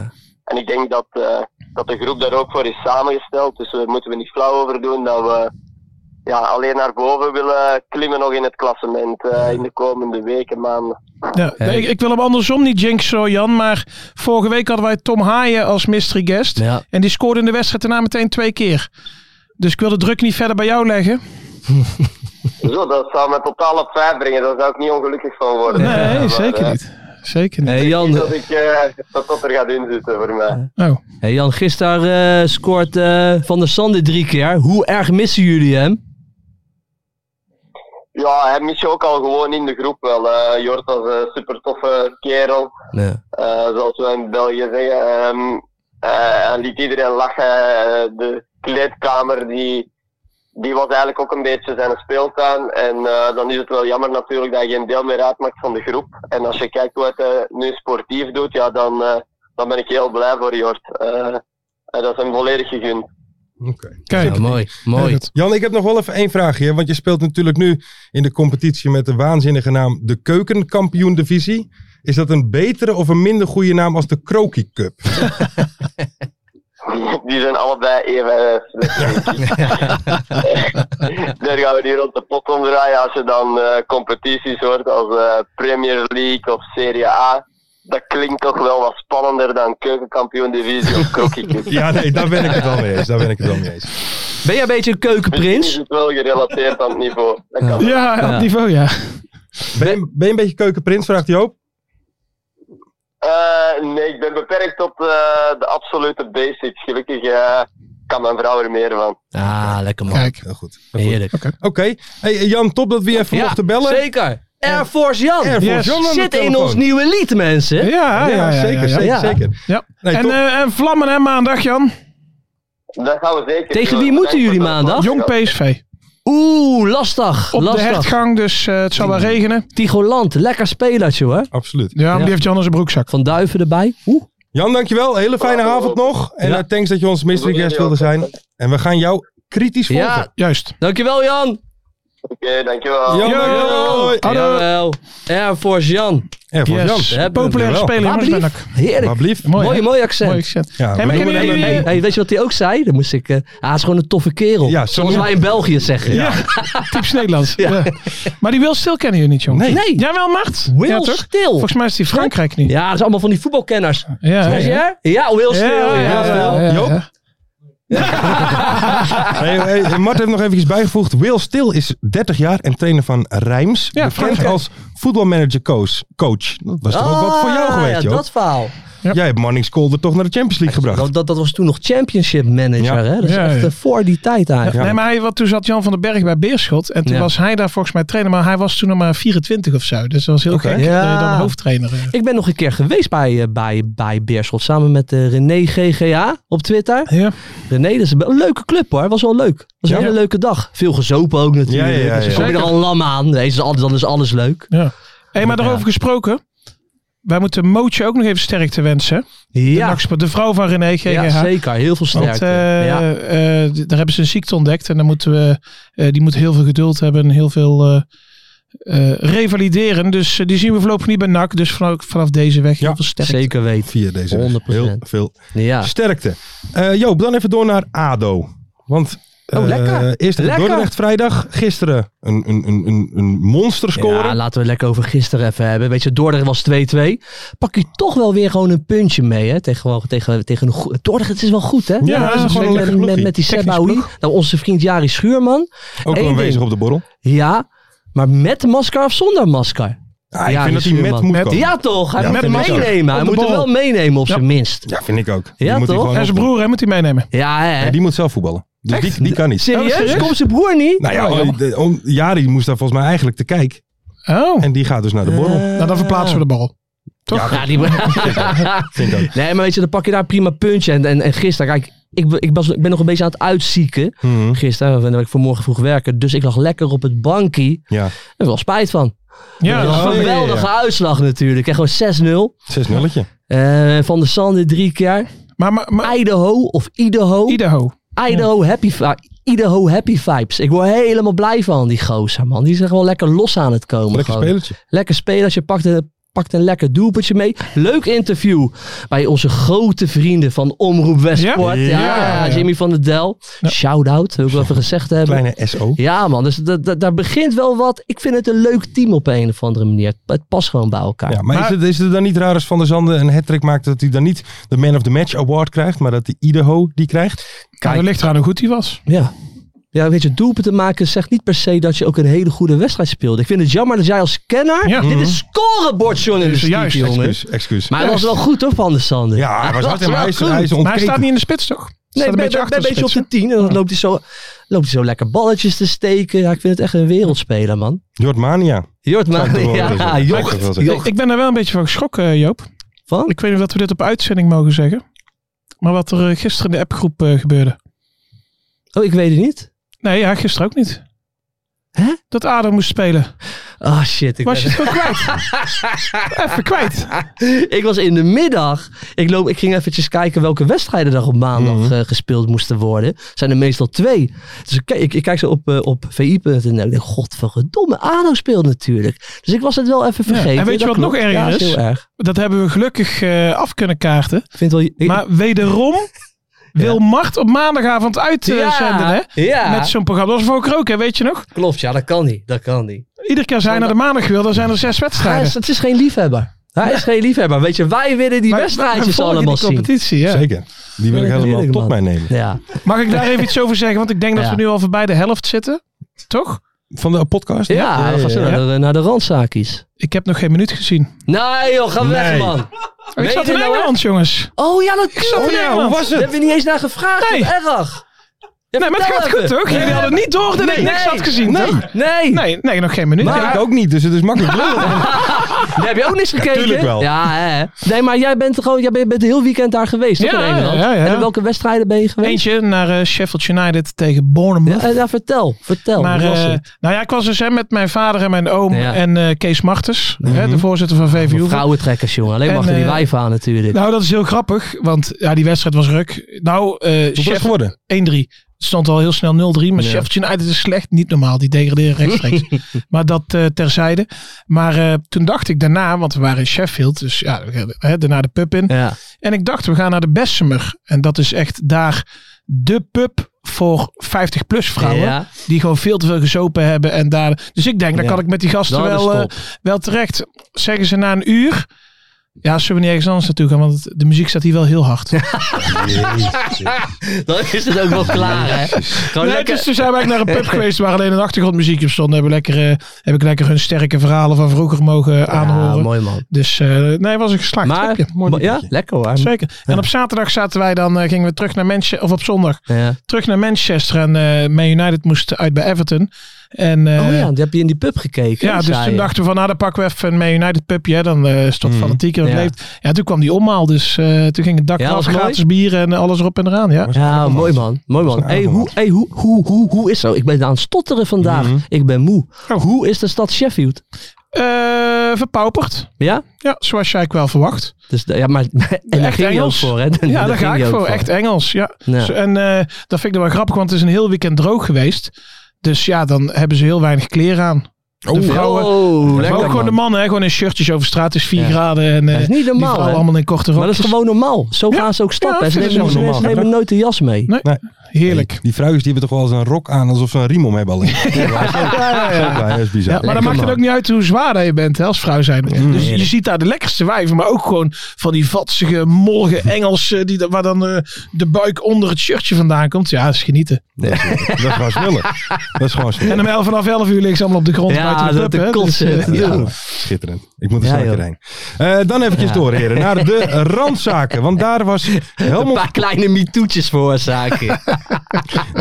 [SPEAKER 9] En ik denk dat, eh, dat de groep daar ook voor is samengesteld, dus daar moeten we niet flauw over doen dat we ja, alleen naar boven willen klimmen nog in het klassement eh, in de komende weken, maanden.
[SPEAKER 6] Ja,
[SPEAKER 5] Hey.
[SPEAKER 6] ik, ik wil hem andersom niet jinxen, hoor, Jan. Maar vorige week hadden wij Tom Haaien als mystery guest.
[SPEAKER 5] Ja.
[SPEAKER 6] En die scoorde in de wedstrijd daarna meteen twee keer. Dus ik wil de druk niet verder bij jou leggen.
[SPEAKER 9] Zo, dat zou me totaal op vijf brengen. Daar zou ik niet ongelukkig van worden.
[SPEAKER 6] Nee,
[SPEAKER 9] Maar,
[SPEAKER 6] zeker
[SPEAKER 9] eh,
[SPEAKER 6] niet. Zeker niet.
[SPEAKER 5] hey,
[SPEAKER 9] niet
[SPEAKER 5] Jan,
[SPEAKER 9] Dat ik eh, dat dat er gaat inzitten voor mij.
[SPEAKER 6] Oh.
[SPEAKER 5] hey, Jan gisteren eh, scoort eh, Van der Sande drie keer. Hoe erg missen jullie hem?
[SPEAKER 9] Ja, hij mis je ook al gewoon in de groep wel. eh Jort was een super toffe kerel.
[SPEAKER 5] Ja.
[SPEAKER 9] eh, zoals we in België zeggen. Ehm, eh, hij liet iedereen lachen. Eh, de kleedkamer die, die was eigenlijk ook een beetje zijn speeltuin. En eh, dan is het wel jammer natuurlijk dat je geen deel meer uitmaakt van de groep. En als je kijkt hoe hij het eh, nu sportief doet, ja, dan, eh, dan ben ik heel blij voor Jort. Eh, eh, dat is hem volledig gegund.
[SPEAKER 6] Kijk.
[SPEAKER 5] Ja, mooi, mooi.
[SPEAKER 6] Kijk het.
[SPEAKER 4] Jan, ik heb nog wel even één vraagje. hè, Want je speelt natuurlijk nu in de competitie met de waanzinnige naam de Keukenkampioen Divisie. Is dat een betere of een minder goede naam als de Kroki Cup?
[SPEAKER 9] Die zijn allebei even. eh, slecht, denk ik. Daar gaan we hier rond de pot om draaien. Als je dan eh, competities hoort als eh, Premier League of Serie A, dat klinkt toch wel wat spannender dan keukenkampioen divisie of Dus Crocky Cup.
[SPEAKER 4] Ja, nee, daar ben ik het wel mee eens. Daar ben ik het wel mee eens.
[SPEAKER 5] Ben jij een beetje een
[SPEAKER 9] Misschien Is
[SPEAKER 5] keukenprins?
[SPEAKER 9] het wel gerelateerd aan het niveau? Dat kan.
[SPEAKER 6] Ja, op niveau, ja.
[SPEAKER 4] Ben je, ben je een beetje Keukenprins, vraagt Joop?
[SPEAKER 9] Eh, nee, ik ben beperkt tot eh, de absolute basics. Gelukkig eh, kan mijn vrouw er meer van.
[SPEAKER 5] Ah, lekker man.
[SPEAKER 6] Kijk.
[SPEAKER 4] Heel goed. eh,
[SPEAKER 5] Heerlijk.
[SPEAKER 4] Oké. Hey, Jan, top dat we je even mochten bellen.
[SPEAKER 5] zeker. Air Force Jan.
[SPEAKER 4] Air Force
[SPEAKER 6] Yes.
[SPEAKER 4] Jan aan de
[SPEAKER 5] Zit in
[SPEAKER 4] telefoon.
[SPEAKER 5] ons nieuwe lied, mensen.
[SPEAKER 6] Ja, ja,
[SPEAKER 4] Ja,
[SPEAKER 6] ja, ja,
[SPEAKER 4] zeker,
[SPEAKER 6] ja, ja.
[SPEAKER 4] zeker,
[SPEAKER 5] ja.
[SPEAKER 4] zeker.
[SPEAKER 6] Ja.
[SPEAKER 4] Nee,
[SPEAKER 6] en,
[SPEAKER 4] top.
[SPEAKER 6] eh, en vlammen en maandag, Jan.
[SPEAKER 9] Dat gaan we zeker
[SPEAKER 5] Tegen
[SPEAKER 9] doen.
[SPEAKER 5] wie moeten
[SPEAKER 9] Bedankt
[SPEAKER 5] jullie
[SPEAKER 9] voor de
[SPEAKER 5] maandag?
[SPEAKER 6] Jong
[SPEAKER 9] podcast.
[SPEAKER 6] PSV.
[SPEAKER 5] Oeh, lastig.
[SPEAKER 6] Op de
[SPEAKER 5] lastig.
[SPEAKER 6] hertgang, dus eh, het zal wel regenen.
[SPEAKER 5] Tigoland, lekker spelertje hoor.
[SPEAKER 4] Absoluut.
[SPEAKER 6] Ja, maar
[SPEAKER 5] Ja.
[SPEAKER 6] die heeft Jan in zijn broekzak.
[SPEAKER 5] Van Duiven erbij. Oeh.
[SPEAKER 4] Jan, dankjewel. Hele fijne avond nog. En
[SPEAKER 5] Ja.
[SPEAKER 4] eh, thanks dat je ons mystery guest wilde zijn. En we gaan jou kritisch volgen.
[SPEAKER 5] Ja,
[SPEAKER 6] Juist.
[SPEAKER 5] dankjewel Jan.
[SPEAKER 9] Oké, dankjewel.
[SPEAKER 4] Jan, dankjewel. Hoi.
[SPEAKER 5] Jawel. Air Force Jan.
[SPEAKER 4] Air Force
[SPEAKER 6] Yes.
[SPEAKER 4] Jan.
[SPEAKER 5] We hebben
[SPEAKER 6] Populaire
[SPEAKER 4] hem er wel.
[SPEAKER 6] speler, jongens, ben ik.
[SPEAKER 5] Alsjeblieft. Heerlijk.
[SPEAKER 4] Alsjeblieft.
[SPEAKER 6] Mooi,
[SPEAKER 5] Mooi,
[SPEAKER 6] hè?
[SPEAKER 5] mooi accent.
[SPEAKER 6] Mooi accent.
[SPEAKER 4] Ja,
[SPEAKER 6] Hey, maar
[SPEAKER 4] we
[SPEAKER 6] kennen
[SPEAKER 4] doen
[SPEAKER 6] jullie-
[SPEAKER 4] hem
[SPEAKER 5] Hey,
[SPEAKER 4] even-
[SPEAKER 5] hey, weet je wat hij ook zei? Dan moest ik, eh, ah, het is gewoon een toffe kerel.
[SPEAKER 4] Ja,
[SPEAKER 5] Zoals
[SPEAKER 4] sorry.
[SPEAKER 5] wij in België zeggen.
[SPEAKER 6] Ja, typisch Nederlands. Ja. Maar die Will Stil kennen jullie niet, jongen.
[SPEAKER 4] Nee.
[SPEAKER 5] Nee.
[SPEAKER 6] Jij wel, Macht?
[SPEAKER 5] Will
[SPEAKER 6] ja, toch?
[SPEAKER 5] Stil.
[SPEAKER 6] Volgens mij is die Frankrijk niet.
[SPEAKER 5] Ja, dat is allemaal van die voetbalkenners.
[SPEAKER 6] Ja,
[SPEAKER 5] Ja, ja? ja Will Stil.
[SPEAKER 6] Ja, ja, ja, ja.
[SPEAKER 4] Joop? Hey, hey, hey, Mart heeft nog eventjes bijgevoegd. Will Stil is 30 jaar en trainer van Rijms.
[SPEAKER 6] Ja,
[SPEAKER 4] bekend
[SPEAKER 6] Frankrijk.
[SPEAKER 4] als voetbalmanager coach. coach. Dat was toch ook wat voor jou
[SPEAKER 5] Ah,
[SPEAKER 4] geweest,
[SPEAKER 5] ja,
[SPEAKER 4] joh.
[SPEAKER 5] dat verhaal.
[SPEAKER 4] Jij hebt Manning Kolder toch naar de Champions League gebracht.
[SPEAKER 5] Dat, dat, dat was toen nog championship manager.
[SPEAKER 4] Ja.
[SPEAKER 5] Hè? Dat is
[SPEAKER 6] Ja,
[SPEAKER 5] echt
[SPEAKER 6] ja.
[SPEAKER 5] eh, voor die tijd eigenlijk.
[SPEAKER 6] Nee, maar hij, wat, toen zat Jan van den Berg bij Beerschot. En toen
[SPEAKER 5] Ja.
[SPEAKER 6] was hij daar volgens mij trainer. Maar hij was toen nog maar 24 of zo. Dus dat was heel
[SPEAKER 4] Oké.
[SPEAKER 6] gek dat je
[SPEAKER 5] Ja.
[SPEAKER 6] dan hoofdtrainer. eh.
[SPEAKER 5] Ik ben nog een keer geweest bij, eh, bij, bij Beerschot. Samen met eh, René GGA op Twitter.
[SPEAKER 6] Ja.
[SPEAKER 5] René, dat is een be- een leuke club hoor. Was wel leuk. Was een
[SPEAKER 4] Ja.
[SPEAKER 5] hele leuke dag. Veel gezopen ook natuurlijk.
[SPEAKER 4] Ja, ja, ja,
[SPEAKER 5] Dus dan
[SPEAKER 4] ja.
[SPEAKER 5] kom je er al lam aan. Nee, is alles, dan is alles leuk.
[SPEAKER 6] ja. hey, maar
[SPEAKER 5] Ja.
[SPEAKER 6] daarover gesproken. Wij moeten Mootje ook nog even sterkte wensen. De,
[SPEAKER 5] Ja,
[SPEAKER 6] nachtsport- de vrouw van René GGH.
[SPEAKER 5] ja zeker. Heel veel
[SPEAKER 6] Want
[SPEAKER 5] sterkte.
[SPEAKER 6] eh,
[SPEAKER 5] ja.
[SPEAKER 6] eh, d- daar hebben ze een ziekte ontdekt. En dan moeten we, eh, die moet heel veel geduld hebben. En heel veel eh, eh, revalideren. Dus eh, die zien we voorlopig niet bij NAC. Dus vanaf, vanaf deze weg heel
[SPEAKER 4] Ja,
[SPEAKER 6] veel sterkte.
[SPEAKER 5] Zeker weten.
[SPEAKER 4] Via deze weg.
[SPEAKER 5] 100%.
[SPEAKER 4] Heel veel
[SPEAKER 5] Ja.
[SPEAKER 4] sterkte. Eh, Joop, dan even door naar ADO. Want
[SPEAKER 5] Oh,
[SPEAKER 4] eh,
[SPEAKER 5] lekker.
[SPEAKER 4] eerst tegen
[SPEAKER 5] Lekker.
[SPEAKER 4] Dordrecht vrijdag. Gisteren een, een, een, een, een monsterscore.
[SPEAKER 5] Ja, laten we het lekker over gisteren even hebben. Weet je, Dordrecht was 2-2. Pak je toch wel weer gewoon een puntje mee, hè? Tegen, gewoon- tegen, tegen een goe- Dordrecht, het is wel goed, hè?
[SPEAKER 4] Ja, dat is gewoon
[SPEAKER 5] met,
[SPEAKER 4] een lekker
[SPEAKER 5] met, met,
[SPEAKER 4] ploegje.
[SPEAKER 5] met die Seb
[SPEAKER 4] Technisch
[SPEAKER 5] Aoui.
[SPEAKER 4] ploeg.
[SPEAKER 5] Nou, onze vriend Jari Schuurman.
[SPEAKER 4] ook
[SPEAKER 5] één
[SPEAKER 4] wel aanwezig
[SPEAKER 5] ding.
[SPEAKER 4] op de borrel.
[SPEAKER 5] Ja, maar met masker of zonder masker?
[SPEAKER 4] Ah, ik
[SPEAKER 5] Ja,
[SPEAKER 4] vind dat hij
[SPEAKER 5] die
[SPEAKER 4] met
[SPEAKER 5] Schuurman.
[SPEAKER 4] moet
[SPEAKER 6] Met-
[SPEAKER 4] komen.
[SPEAKER 5] Ja, toch? Hij
[SPEAKER 4] Ja,
[SPEAKER 5] moet hem
[SPEAKER 4] vind ik ook.
[SPEAKER 5] meenemen. Hij
[SPEAKER 6] Op de
[SPEAKER 5] moet hem
[SPEAKER 6] bal.
[SPEAKER 5] wel meenemen, op
[SPEAKER 6] Ja.
[SPEAKER 5] zijn minst.
[SPEAKER 4] Ja, vind ik ook. Die
[SPEAKER 5] Ja,
[SPEAKER 4] moet hij
[SPEAKER 5] toch?
[SPEAKER 4] gewoon
[SPEAKER 6] En zijn
[SPEAKER 4] opdoen.
[SPEAKER 6] broer hè, moet hij meenemen.
[SPEAKER 5] Ja, hè?
[SPEAKER 4] Nee, die moet zelf voetballen. Dus die, die kan niet.
[SPEAKER 5] serieus?
[SPEAKER 6] Oh, serieus?
[SPEAKER 5] Komt zijn broer niet?
[SPEAKER 4] Nou
[SPEAKER 6] Oh,
[SPEAKER 4] ja,
[SPEAKER 6] jammer.
[SPEAKER 4] de- om- Jari moest daar volgens mij eigenlijk te kijken.
[SPEAKER 6] Oh,
[SPEAKER 4] En die gaat dus naar de borrel.
[SPEAKER 6] nou, dan verplaatsen we de bal. Toch?
[SPEAKER 5] Ja, die...
[SPEAKER 4] Vind ik ook.
[SPEAKER 5] nee, maar weet je, dan pak je daar een prima puntje. En, en, en gisteren, kijk, ik, be- ik, was, ik ben nog een beetje aan het uitzieken.
[SPEAKER 6] Hmm.
[SPEAKER 4] Mhm.
[SPEAKER 5] Gisteren, want ik vanmorgen vroeg werken. Dus ik lag lekker op het bankie.
[SPEAKER 4] Ja,
[SPEAKER 5] Daar heb ik wel spijt van.
[SPEAKER 6] Ja,
[SPEAKER 4] Ja.
[SPEAKER 6] dat is-
[SPEAKER 5] Geweldige uitslag natuurlijk. En gewoon 6-0.
[SPEAKER 4] 6 nulletje.
[SPEAKER 5] Eh, van der Sande drie keer.
[SPEAKER 6] maar, maar, maar
[SPEAKER 5] Idaho of Idaho.
[SPEAKER 6] Idaho.
[SPEAKER 5] Idaho, happy, vi- Idaho happy vibes. Ik word helemaal blij van die gozer, man. Die is echt wel lekker los aan het komen.
[SPEAKER 4] Lekker
[SPEAKER 5] gewoon.
[SPEAKER 4] spelertje.
[SPEAKER 5] Lekker spelertje. Pakt een, pakt een lekker doelpuntje mee. Leuk interview bij onze grote vrienden van Omroep Westport.
[SPEAKER 6] Ja?
[SPEAKER 5] Ja,
[SPEAKER 6] Ja. nou,
[SPEAKER 5] Jimmy van der Del. Shout-out, wil ik wel even gezegd hebben.
[SPEAKER 4] Kleine SO.
[SPEAKER 5] Ja, man. Dus da- da- daar begint wel wat. Ik vind het een leuk team op een of andere manier. Het, het past gewoon bij elkaar.
[SPEAKER 4] Ja, maar, is, het, is het dan niet raar als Van der Zanden een hat maakt dat hij dan niet de Man of the Match award krijgt, maar dat hij Idaho die krijgt?
[SPEAKER 6] Kijk, dat ligt eraan hoe goed hij was.
[SPEAKER 5] Ja. Ja, weet je, doelpunten maken zegt niet per se dat je ook een hele goede wedstrijd speelt. Ik vind het jammer dat jij als kenner...
[SPEAKER 6] Ja.
[SPEAKER 5] Dit is scorebordjournalistiek,
[SPEAKER 6] Juist,
[SPEAKER 5] jongen.
[SPEAKER 4] Excuus, Dus excuus.
[SPEAKER 5] Maar hij was wel goed, hoor, Van der Sande.
[SPEAKER 4] ja, hij was hard en
[SPEAKER 5] wel
[SPEAKER 4] hij is,
[SPEAKER 5] goed.
[SPEAKER 4] hij is
[SPEAKER 6] Maar hij staat
[SPEAKER 4] ontketend.
[SPEAKER 6] niet in de spits, toch? Hij
[SPEAKER 5] Nee,
[SPEAKER 6] staat
[SPEAKER 5] ik ben, ben- ben een beetje op
[SPEAKER 6] spits,
[SPEAKER 5] de tien. En dan loopt hij, zo, loopt hij zo lekker balletjes te steken. Ja, ik vind het echt een wereldspeler, man.
[SPEAKER 4] Jordmania.
[SPEAKER 5] Jort,
[SPEAKER 4] Zou ik
[SPEAKER 5] maar...
[SPEAKER 4] toch wel
[SPEAKER 5] Ja,
[SPEAKER 4] willen zeggen. Zou ik toch wel
[SPEAKER 5] jocht.
[SPEAKER 4] zeggen.
[SPEAKER 6] hè? Ik ben er wel een beetje van geschrokken, eh, Joop.
[SPEAKER 5] Van?
[SPEAKER 6] Ik weet niet of dat we dit op uitzending mogen zeggen. Maar wat er eh, gisteren in de appgroep eh, gebeurde.
[SPEAKER 5] Oh, ik weet het niet.
[SPEAKER 6] Nee, ja, gisteren ook niet.
[SPEAKER 5] Hè?
[SPEAKER 6] Dat Adam moest spelen.
[SPEAKER 5] Ah, shit. Ik
[SPEAKER 6] Was
[SPEAKER 5] ben-
[SPEAKER 6] je het wel kwijt? Even kwijt.
[SPEAKER 5] ik was in de middag. Ik, loop, ik ging eventjes kijken welke wedstrijden er op maandag
[SPEAKER 6] Mhm.
[SPEAKER 5] eh, gespeeld moesten worden. Zijn er meestal twee. Dus ik, kijk- ik, ik kijk zo op, eh, op vi.nl. Ik denk, godverdomme, ADO speelt natuurlijk. Dus ik was het wel even
[SPEAKER 6] Ja,
[SPEAKER 5] vergeten.
[SPEAKER 6] en weet je
[SPEAKER 5] Dat
[SPEAKER 6] wat
[SPEAKER 5] klopt.
[SPEAKER 6] nog erger
[SPEAKER 5] Ja, dat is?
[SPEAKER 6] is?
[SPEAKER 5] heel erg.
[SPEAKER 6] Dat hebben we gelukkig eh, af kunnen kaarten.
[SPEAKER 5] Ik vind wel... ik-
[SPEAKER 6] Maar wederom wil Mart op maandagavond uitzenden. hè?
[SPEAKER 5] ja.
[SPEAKER 6] Met zo'n programma. Dat was voor ook, hè, weet je nog?
[SPEAKER 5] klopt. Ja, dat kan niet. Dat kan niet.
[SPEAKER 6] Iedere keer zijn naar de maandag wil, dan zijn er zes
[SPEAKER 5] Hij
[SPEAKER 6] wedstrijden.
[SPEAKER 5] is, het is geen liefhebber. Hij is geen liefhebber. Weet je, wij willen die
[SPEAKER 6] Maar- maar
[SPEAKER 5] wedstrijdjes
[SPEAKER 6] volg je
[SPEAKER 5] allemaal
[SPEAKER 6] die
[SPEAKER 5] zien.
[SPEAKER 6] competitie, ja.
[SPEAKER 4] Zeker. Die wil ik
[SPEAKER 5] Ja,
[SPEAKER 4] helemaal
[SPEAKER 5] tuurlijk,
[SPEAKER 4] tot
[SPEAKER 5] man.
[SPEAKER 4] mij nemen.
[SPEAKER 5] Ja.
[SPEAKER 6] Mag ik daar even iets over zeggen? Want ik denk dat
[SPEAKER 5] Ja.
[SPEAKER 6] we nu al voorbij de helft zitten. Toch?
[SPEAKER 4] Van de podcast?
[SPEAKER 5] Ja, we gaan zo
[SPEAKER 6] ja.
[SPEAKER 5] Naar, de, naar de randzaakjes.
[SPEAKER 6] Ik heb nog geen minuut gezien.
[SPEAKER 5] Nee joh, ga weg
[SPEAKER 4] Nee.
[SPEAKER 5] man.
[SPEAKER 6] Ik
[SPEAKER 5] Weet
[SPEAKER 6] zat
[SPEAKER 5] je
[SPEAKER 6] in
[SPEAKER 5] nou, hè?
[SPEAKER 6] Engeland, jongens.
[SPEAKER 5] Oh ja, natuurlijk.
[SPEAKER 6] zat in
[SPEAKER 5] Oh, ja,
[SPEAKER 6] Engeland.
[SPEAKER 5] Daar hebben we niet eens naar gevraagd.
[SPEAKER 6] Nee.
[SPEAKER 5] Wat erg.
[SPEAKER 6] nee, maar het
[SPEAKER 5] vertel
[SPEAKER 6] gaat
[SPEAKER 5] even.
[SPEAKER 6] goed, toch? Jullie
[SPEAKER 5] Nee.
[SPEAKER 6] hadden niet door dat ik
[SPEAKER 5] Nee.
[SPEAKER 6] niks had gezien,
[SPEAKER 5] Nee.
[SPEAKER 6] toch?
[SPEAKER 5] Nee.
[SPEAKER 6] Nee, nee, nog geen minuut.
[SPEAKER 4] Maar
[SPEAKER 6] Ja.
[SPEAKER 4] ik ook niet, dus het is makkelijk lullen.
[SPEAKER 5] Daar heb je ook niks gekeken.
[SPEAKER 4] tuurlijk wel.
[SPEAKER 5] Ja, hè. Nee, maar jij bent er gewoon, jij bent, bent heel weekend daar geweest, toch?
[SPEAKER 6] Ja,
[SPEAKER 5] in Engeland?
[SPEAKER 6] ja, ja.
[SPEAKER 5] En in welke wedstrijden ben je geweest?
[SPEAKER 6] Eentje naar eh, Sheffield United tegen Bournemouth.
[SPEAKER 5] Ja, eh, ja, vertel, vertel.
[SPEAKER 6] Maar
[SPEAKER 5] hoe was
[SPEAKER 6] eh,
[SPEAKER 5] het?
[SPEAKER 6] nou ja, ik was dus hè, met mijn vader en mijn oom
[SPEAKER 5] Ja. Mhm.
[SPEAKER 6] en eh, Kees Martens, hè, de voorzitter van VVU.
[SPEAKER 5] Voor vrouwentrekkers, jongen. Alleen
[SPEAKER 6] En,
[SPEAKER 5] mag er die
[SPEAKER 6] eh,
[SPEAKER 5] wijven aan natuurlijk.
[SPEAKER 6] Nou, dat is heel grappig, want ja, die wedstrijd was ruk. Nou, eh
[SPEAKER 4] Hoe was het
[SPEAKER 6] Sheff-
[SPEAKER 4] geworden?
[SPEAKER 6] 1-3. Het stond al heel snel 0-3, maar Sheffield United is slecht. Niet normaal, die degraderen rechtstreeks. maar dat eh, terzijde. Maar eh, toen dacht ik daarna, want we waren in Sheffield, dus ja, we gaan, hè, daarna de pub in.
[SPEAKER 5] ja.
[SPEAKER 6] En ik dacht, we gaan naar de Bessemer. En dat is echt daar de pub voor 50-plus vrouwen.
[SPEAKER 5] Ja.
[SPEAKER 6] Die gewoon veel te veel gezopen hebben. En daar, dus ik denk, dan
[SPEAKER 5] Ja. Nou,
[SPEAKER 6] kan ik met die gasten
[SPEAKER 5] Dat is
[SPEAKER 6] wel, eh,
[SPEAKER 5] top.
[SPEAKER 6] wel terecht. Zeggen ze na een uur... Ja, zullen we niet ergens anders naartoe gaan? Want het- de muziek staat hier wel heel hard.
[SPEAKER 5] Dan is het ook wel klaar, hè? Gewoon
[SPEAKER 6] Nee,
[SPEAKER 5] Nou, lekker...
[SPEAKER 6] dus toen zijn wij naar een pub geweest waar alleen een achtergrondmuziekje op stond. Hebben lekker, eh, heb ik lekker hun sterke verhalen van vroeger mogen eh,
[SPEAKER 5] ja,
[SPEAKER 6] aanhoren.
[SPEAKER 5] mooi man.
[SPEAKER 6] Dus eh, nee, was een geslaagd
[SPEAKER 5] Maar,
[SPEAKER 6] tripje. Mooi
[SPEAKER 5] ja,
[SPEAKER 6] weekendje.
[SPEAKER 5] lekker hoor.
[SPEAKER 6] Zeker. En op zaterdag zaten wij dan, eh, gingen we terug naar Manchester, of op zondag,
[SPEAKER 5] Ja.
[SPEAKER 6] terug naar Manchester. En eh Man United moest uit bij Everton. En, eh,
[SPEAKER 5] Oh ja, die heb je in die pub gekeken.
[SPEAKER 6] ja, dus
[SPEAKER 5] zei
[SPEAKER 6] toen
[SPEAKER 5] je.
[SPEAKER 6] dachten we van, nou dan pakken we even een Man United pubje. hè. Dan eh stond fanatiek en
[SPEAKER 5] Mhm. Ja.
[SPEAKER 6] leeft. Ja, toen kwam die omhaal. Dus eh, toen ging het dak
[SPEAKER 5] Ja,
[SPEAKER 6] af,
[SPEAKER 5] was mooi.
[SPEAKER 6] gratis bier en eh, alles erop en eraan. Ja.
[SPEAKER 5] Ja, mooi man. Mooi man. Hey, hoe, hey, hoe, hoe, hoe, hoe is zo? Ik ben aan het stotteren vandaag.
[SPEAKER 6] Mhm.
[SPEAKER 5] Ik ben moe.
[SPEAKER 6] Oh.
[SPEAKER 5] Hoe is de stad Sheffield?
[SPEAKER 6] Eh, verpauperd.
[SPEAKER 5] Ja?
[SPEAKER 6] Ja, zoals jij ik wel verwacht.
[SPEAKER 5] Dus, de- ja maar, en daar ging
[SPEAKER 6] Echt
[SPEAKER 5] je ook
[SPEAKER 6] Engels.
[SPEAKER 5] voor, hè?
[SPEAKER 6] Ja, daar ga
[SPEAKER 5] ging je
[SPEAKER 6] ik
[SPEAKER 5] ook
[SPEAKER 6] voor. Echt Engels, ja.
[SPEAKER 5] Ja.
[SPEAKER 6] Zo, en eh, dat vind ik dan wel grappig, want het is een heel weekend droog geweest. Dus ja, dan hebben ze heel weinig kleren aan. De vrouwen.
[SPEAKER 5] Oh,
[SPEAKER 6] maar ook
[SPEAKER 5] lekker
[SPEAKER 6] gewoon de
[SPEAKER 5] man.
[SPEAKER 6] mannen, hè, gewoon in shirtjes over straat. Het is 4
[SPEAKER 5] Ja.
[SPEAKER 6] graden en eh,
[SPEAKER 5] Dat is niet
[SPEAKER 6] die
[SPEAKER 5] normaal,
[SPEAKER 6] vrouwen
[SPEAKER 5] hè?
[SPEAKER 6] allemaal in korte
[SPEAKER 5] Maar dat
[SPEAKER 6] rokjes.
[SPEAKER 5] is gewoon normaal. Zo
[SPEAKER 6] Ja.
[SPEAKER 5] gaan ze ook stappen.
[SPEAKER 6] Ja,
[SPEAKER 5] ze
[SPEAKER 6] dat is
[SPEAKER 5] nemen,
[SPEAKER 6] zo
[SPEAKER 5] ze
[SPEAKER 4] normaal.
[SPEAKER 5] nemen nooit de jas mee.
[SPEAKER 6] Nee. Heerlijk.
[SPEAKER 4] Die vrouwtjes die hebben toch wel eens een rok aan alsof ze een riem om hebben alleen. Zo blij, dat is bizar.
[SPEAKER 6] Ja, maar dan maakt het ook niet uit hoe zwaar dat je bent hè, als vrouw zijn.
[SPEAKER 5] Mm.
[SPEAKER 6] Dus je ziet daar de lekkerste wijven, maar ook gewoon van die vatsige, mollige Engelsen die, da- waar dan eh, de buik onder het shirtje vandaan komt. Ja, dat is genieten.
[SPEAKER 4] Dat is gewoon smullen. Dat is gewoon
[SPEAKER 6] En
[SPEAKER 4] smullen.
[SPEAKER 6] om 11 vanaf 11 uur liggen ze allemaal op de grond
[SPEAKER 5] Ja,
[SPEAKER 6] buiten de
[SPEAKER 5] dat
[SPEAKER 6] club.
[SPEAKER 5] de
[SPEAKER 6] hè. Dus, eh,
[SPEAKER 5] kotsen.
[SPEAKER 6] ja.
[SPEAKER 4] Ja, schitterend. Ik moet er
[SPEAKER 5] Ja,
[SPEAKER 4] snel
[SPEAKER 5] joh.
[SPEAKER 4] weer heen. Eh, dan eventjes
[SPEAKER 5] Ja.
[SPEAKER 4] door, heren, naar de randzaken. Want daar was
[SPEAKER 5] Een
[SPEAKER 4] Helmond
[SPEAKER 5] paar kleine mitoetjes veroorzaken.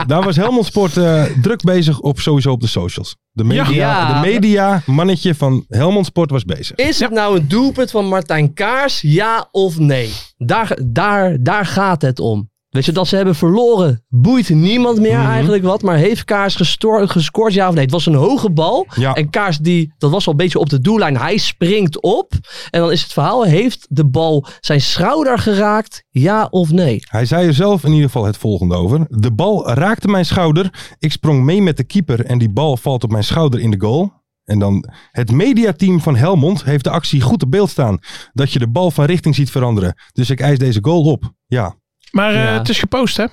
[SPEAKER 4] Daar was Helmond Sport eh, druk bezig op sowieso op de socials. De media,
[SPEAKER 5] Ja.
[SPEAKER 4] de media mannetje van Helmond Sport was bezig.
[SPEAKER 5] Is het nou een doelpunt van Martijn Kaars, ja of nee? Daar, daar, daar gaat het om. Weet je, dat ze hebben verloren, boeit niemand meer eigenlijk wat. Maar heeft Kaars gestoor- gescoord, ja of nee? Het was een hoge bal.
[SPEAKER 4] Ja.
[SPEAKER 5] En Kaars, die, dat was al een beetje op de doellijn. Hij springt op. En dan is het verhaal, heeft de bal zijn schouder geraakt, ja of nee?
[SPEAKER 4] Hij zei er zelf in ieder geval het volgende over. De bal raakte mijn schouder. Ik sprong mee met de keeper en die bal valt op mijn schouder in de goal. En dan het mediateam van Helmond heeft de actie goed op beeld staan. Dat je de bal van richting ziet veranderen. Dus ik eis deze goal op. Ja,
[SPEAKER 6] Maar eh,
[SPEAKER 5] Ja. Eh?
[SPEAKER 6] het is gepost, hè?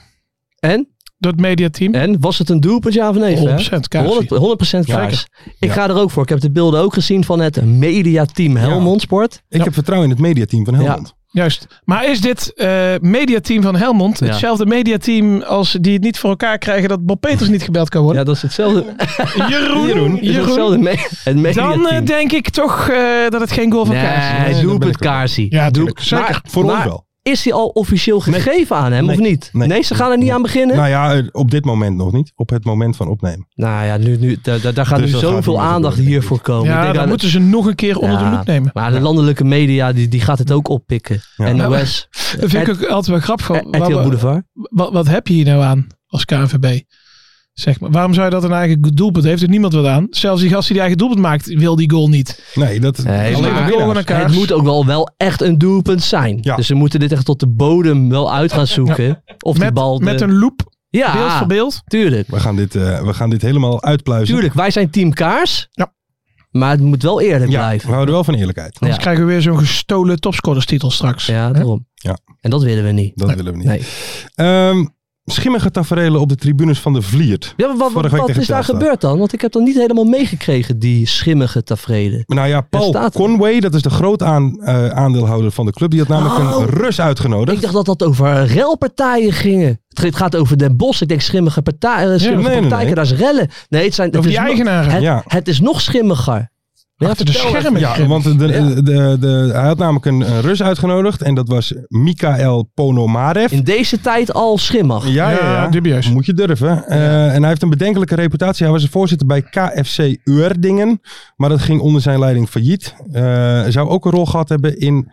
[SPEAKER 5] En?
[SPEAKER 6] Door het mediateam.
[SPEAKER 5] En? Was het een doelpunt, ja of nee? Fer?
[SPEAKER 6] 100% Kaars.
[SPEAKER 5] 100%, 100 Kaars. Ik ga er ook voor. Ik heb de beelden ook gezien van het mediateam Helmond Sport.
[SPEAKER 4] ik heb vertrouwen in het mediateam van Helmond.
[SPEAKER 6] Juist. Maar is dit eh, mediateam van Helmond
[SPEAKER 5] Ja.
[SPEAKER 6] hetzelfde mediateam als die het niet voor elkaar krijgen dat Bob Peters niet gebeld kan
[SPEAKER 5] Ja,
[SPEAKER 6] worden?
[SPEAKER 5] dat is hetzelfde.
[SPEAKER 6] Jeroen, Jeroen.
[SPEAKER 5] Is hetzelfde me het
[SPEAKER 6] Dan
[SPEAKER 5] mediateam.
[SPEAKER 6] eh, denk ik toch eh, dat het geen goal van Kaars is.
[SPEAKER 5] Nee,
[SPEAKER 4] daar ben ik
[SPEAKER 5] doelpunt
[SPEAKER 4] ook.
[SPEAKER 5] Kaarsie.
[SPEAKER 6] Ja,
[SPEAKER 5] Doel-
[SPEAKER 6] tuurlijk. Zeker.
[SPEAKER 5] Maar-
[SPEAKER 4] Voor ons
[SPEAKER 5] maar
[SPEAKER 4] wel.
[SPEAKER 5] Is hij al officieel gegeven aan hem, of
[SPEAKER 4] Nee.
[SPEAKER 5] niet? Nee,
[SPEAKER 4] Nee.
[SPEAKER 5] ze gaan er niet
[SPEAKER 4] Nee.
[SPEAKER 5] aan beginnen.
[SPEAKER 4] Nou ja, eh, op dit moment nog niet. Op het moment van opnemen.
[SPEAKER 5] Nou ja, nu, nu, daar, daar daar gaat
[SPEAKER 4] Dus
[SPEAKER 5] nu
[SPEAKER 4] dat gaat
[SPEAKER 5] zoveel
[SPEAKER 4] niet meer
[SPEAKER 5] aandacht
[SPEAKER 4] gebeuren,
[SPEAKER 5] hiervoor komen. Ik
[SPEAKER 6] Ja,
[SPEAKER 5] denk
[SPEAKER 6] dan
[SPEAKER 5] aan-
[SPEAKER 6] moeten ze nog een keer onder
[SPEAKER 5] Ja,
[SPEAKER 6] de loep nemen.
[SPEAKER 5] Maar de landelijke media, die, die gaat het ook oppikken.
[SPEAKER 4] Ja.
[SPEAKER 5] NOS,
[SPEAKER 6] Dat vind ik
[SPEAKER 5] Ed-
[SPEAKER 6] ook altijd wel grappig.
[SPEAKER 5] eh,
[SPEAKER 6] Van,
[SPEAKER 5] RTL
[SPEAKER 6] wat-
[SPEAKER 5] Boulevard.
[SPEAKER 6] wat, wat heb je hier nou aan als KNVB? Zeg maar, waarom zou je dat een eigen doelpunt? Heeft er niemand wat aan? Zelfs die gast die die eigen doelpunt maakt, wil die goal niet.
[SPEAKER 4] Nee, dat
[SPEAKER 5] Nee,
[SPEAKER 4] alleen
[SPEAKER 5] maar-
[SPEAKER 4] maar
[SPEAKER 6] Goal
[SPEAKER 4] winnaars.
[SPEAKER 6] en een kaars.
[SPEAKER 5] Het moet ook wel, wel echt een doelpunt zijn.
[SPEAKER 4] Ja.
[SPEAKER 5] Dus ze moeten dit echt tot de bodem wel uit gaan zoeken. Of die
[SPEAKER 6] Met,
[SPEAKER 5] bal... de- Ah.
[SPEAKER 6] met een loop,
[SPEAKER 5] ja,
[SPEAKER 6] beeld voor beeld.
[SPEAKER 5] tuurlijk.
[SPEAKER 4] We gaan dit, eh, we gaan dit helemaal uitpluizen.
[SPEAKER 5] Tuurlijk, wij zijn team Kaars.
[SPEAKER 6] Ja.
[SPEAKER 5] Maar het moet wel eerlijk
[SPEAKER 4] Ja, we
[SPEAKER 5] blijven.
[SPEAKER 4] houden wel van eerlijkheid.
[SPEAKER 6] Anders
[SPEAKER 5] Ja.
[SPEAKER 6] Dus krijgen we weer zo'n gestolen topscorerstitel straks.
[SPEAKER 5] Ja, daarom.
[SPEAKER 4] Ja.
[SPEAKER 5] En dat willen we niet.
[SPEAKER 4] Dat willen we niet.
[SPEAKER 5] Nee.
[SPEAKER 4] Ehm, schimmige taferelen op de tribunes van de Vliert.
[SPEAKER 5] Ja, maar wat,
[SPEAKER 4] Vorige week
[SPEAKER 5] wat
[SPEAKER 4] tegen
[SPEAKER 5] is daar
[SPEAKER 4] Telstar.
[SPEAKER 5] gebeurd dan? Want ik heb dan niet helemaal meegekregen, die schimmige tafereelen.
[SPEAKER 4] Maar Nou ja, Paul
[SPEAKER 5] staat er.
[SPEAKER 4] Conway, dat is de groot aan, eh, aandeelhouder van de club. Die had namelijk
[SPEAKER 5] Oh.
[SPEAKER 4] een Rus uitgenodigd.
[SPEAKER 5] Ik dacht dat dat over relpartijen gingen. Het ge- Het gaat over Den Bosch. Ik denk schimmige, partij, eh, schimmige
[SPEAKER 4] nee, nee,
[SPEAKER 5] partijen,
[SPEAKER 4] nee.
[SPEAKER 5] daar is rellen. Nee, het zijn, het
[SPEAKER 6] Over
[SPEAKER 5] is
[SPEAKER 6] die
[SPEAKER 5] nog-
[SPEAKER 6] eigenaren.
[SPEAKER 5] Het,
[SPEAKER 4] Ja.
[SPEAKER 5] het is nog schimmiger. Ja,
[SPEAKER 6] Achter de
[SPEAKER 5] vertel even.
[SPEAKER 6] schermen.
[SPEAKER 4] Ja, want de, de, de, de- hij had namelijk een, een Rus uitgenodigd. En dat was Mikael Ponomarev.
[SPEAKER 5] In deze tijd al schimmig.
[SPEAKER 4] Ja, ja,
[SPEAKER 6] Ja,
[SPEAKER 4] ja.
[SPEAKER 6] dubieus.
[SPEAKER 4] Moet je durven. Eh, en hij heeft een bedenkelijke reputatie. Hij was een voorzitter bij KFC Uerdingen. Maar dat ging onder zijn leiding failliet. Eh, Hij zou ook een rol gehad hebben in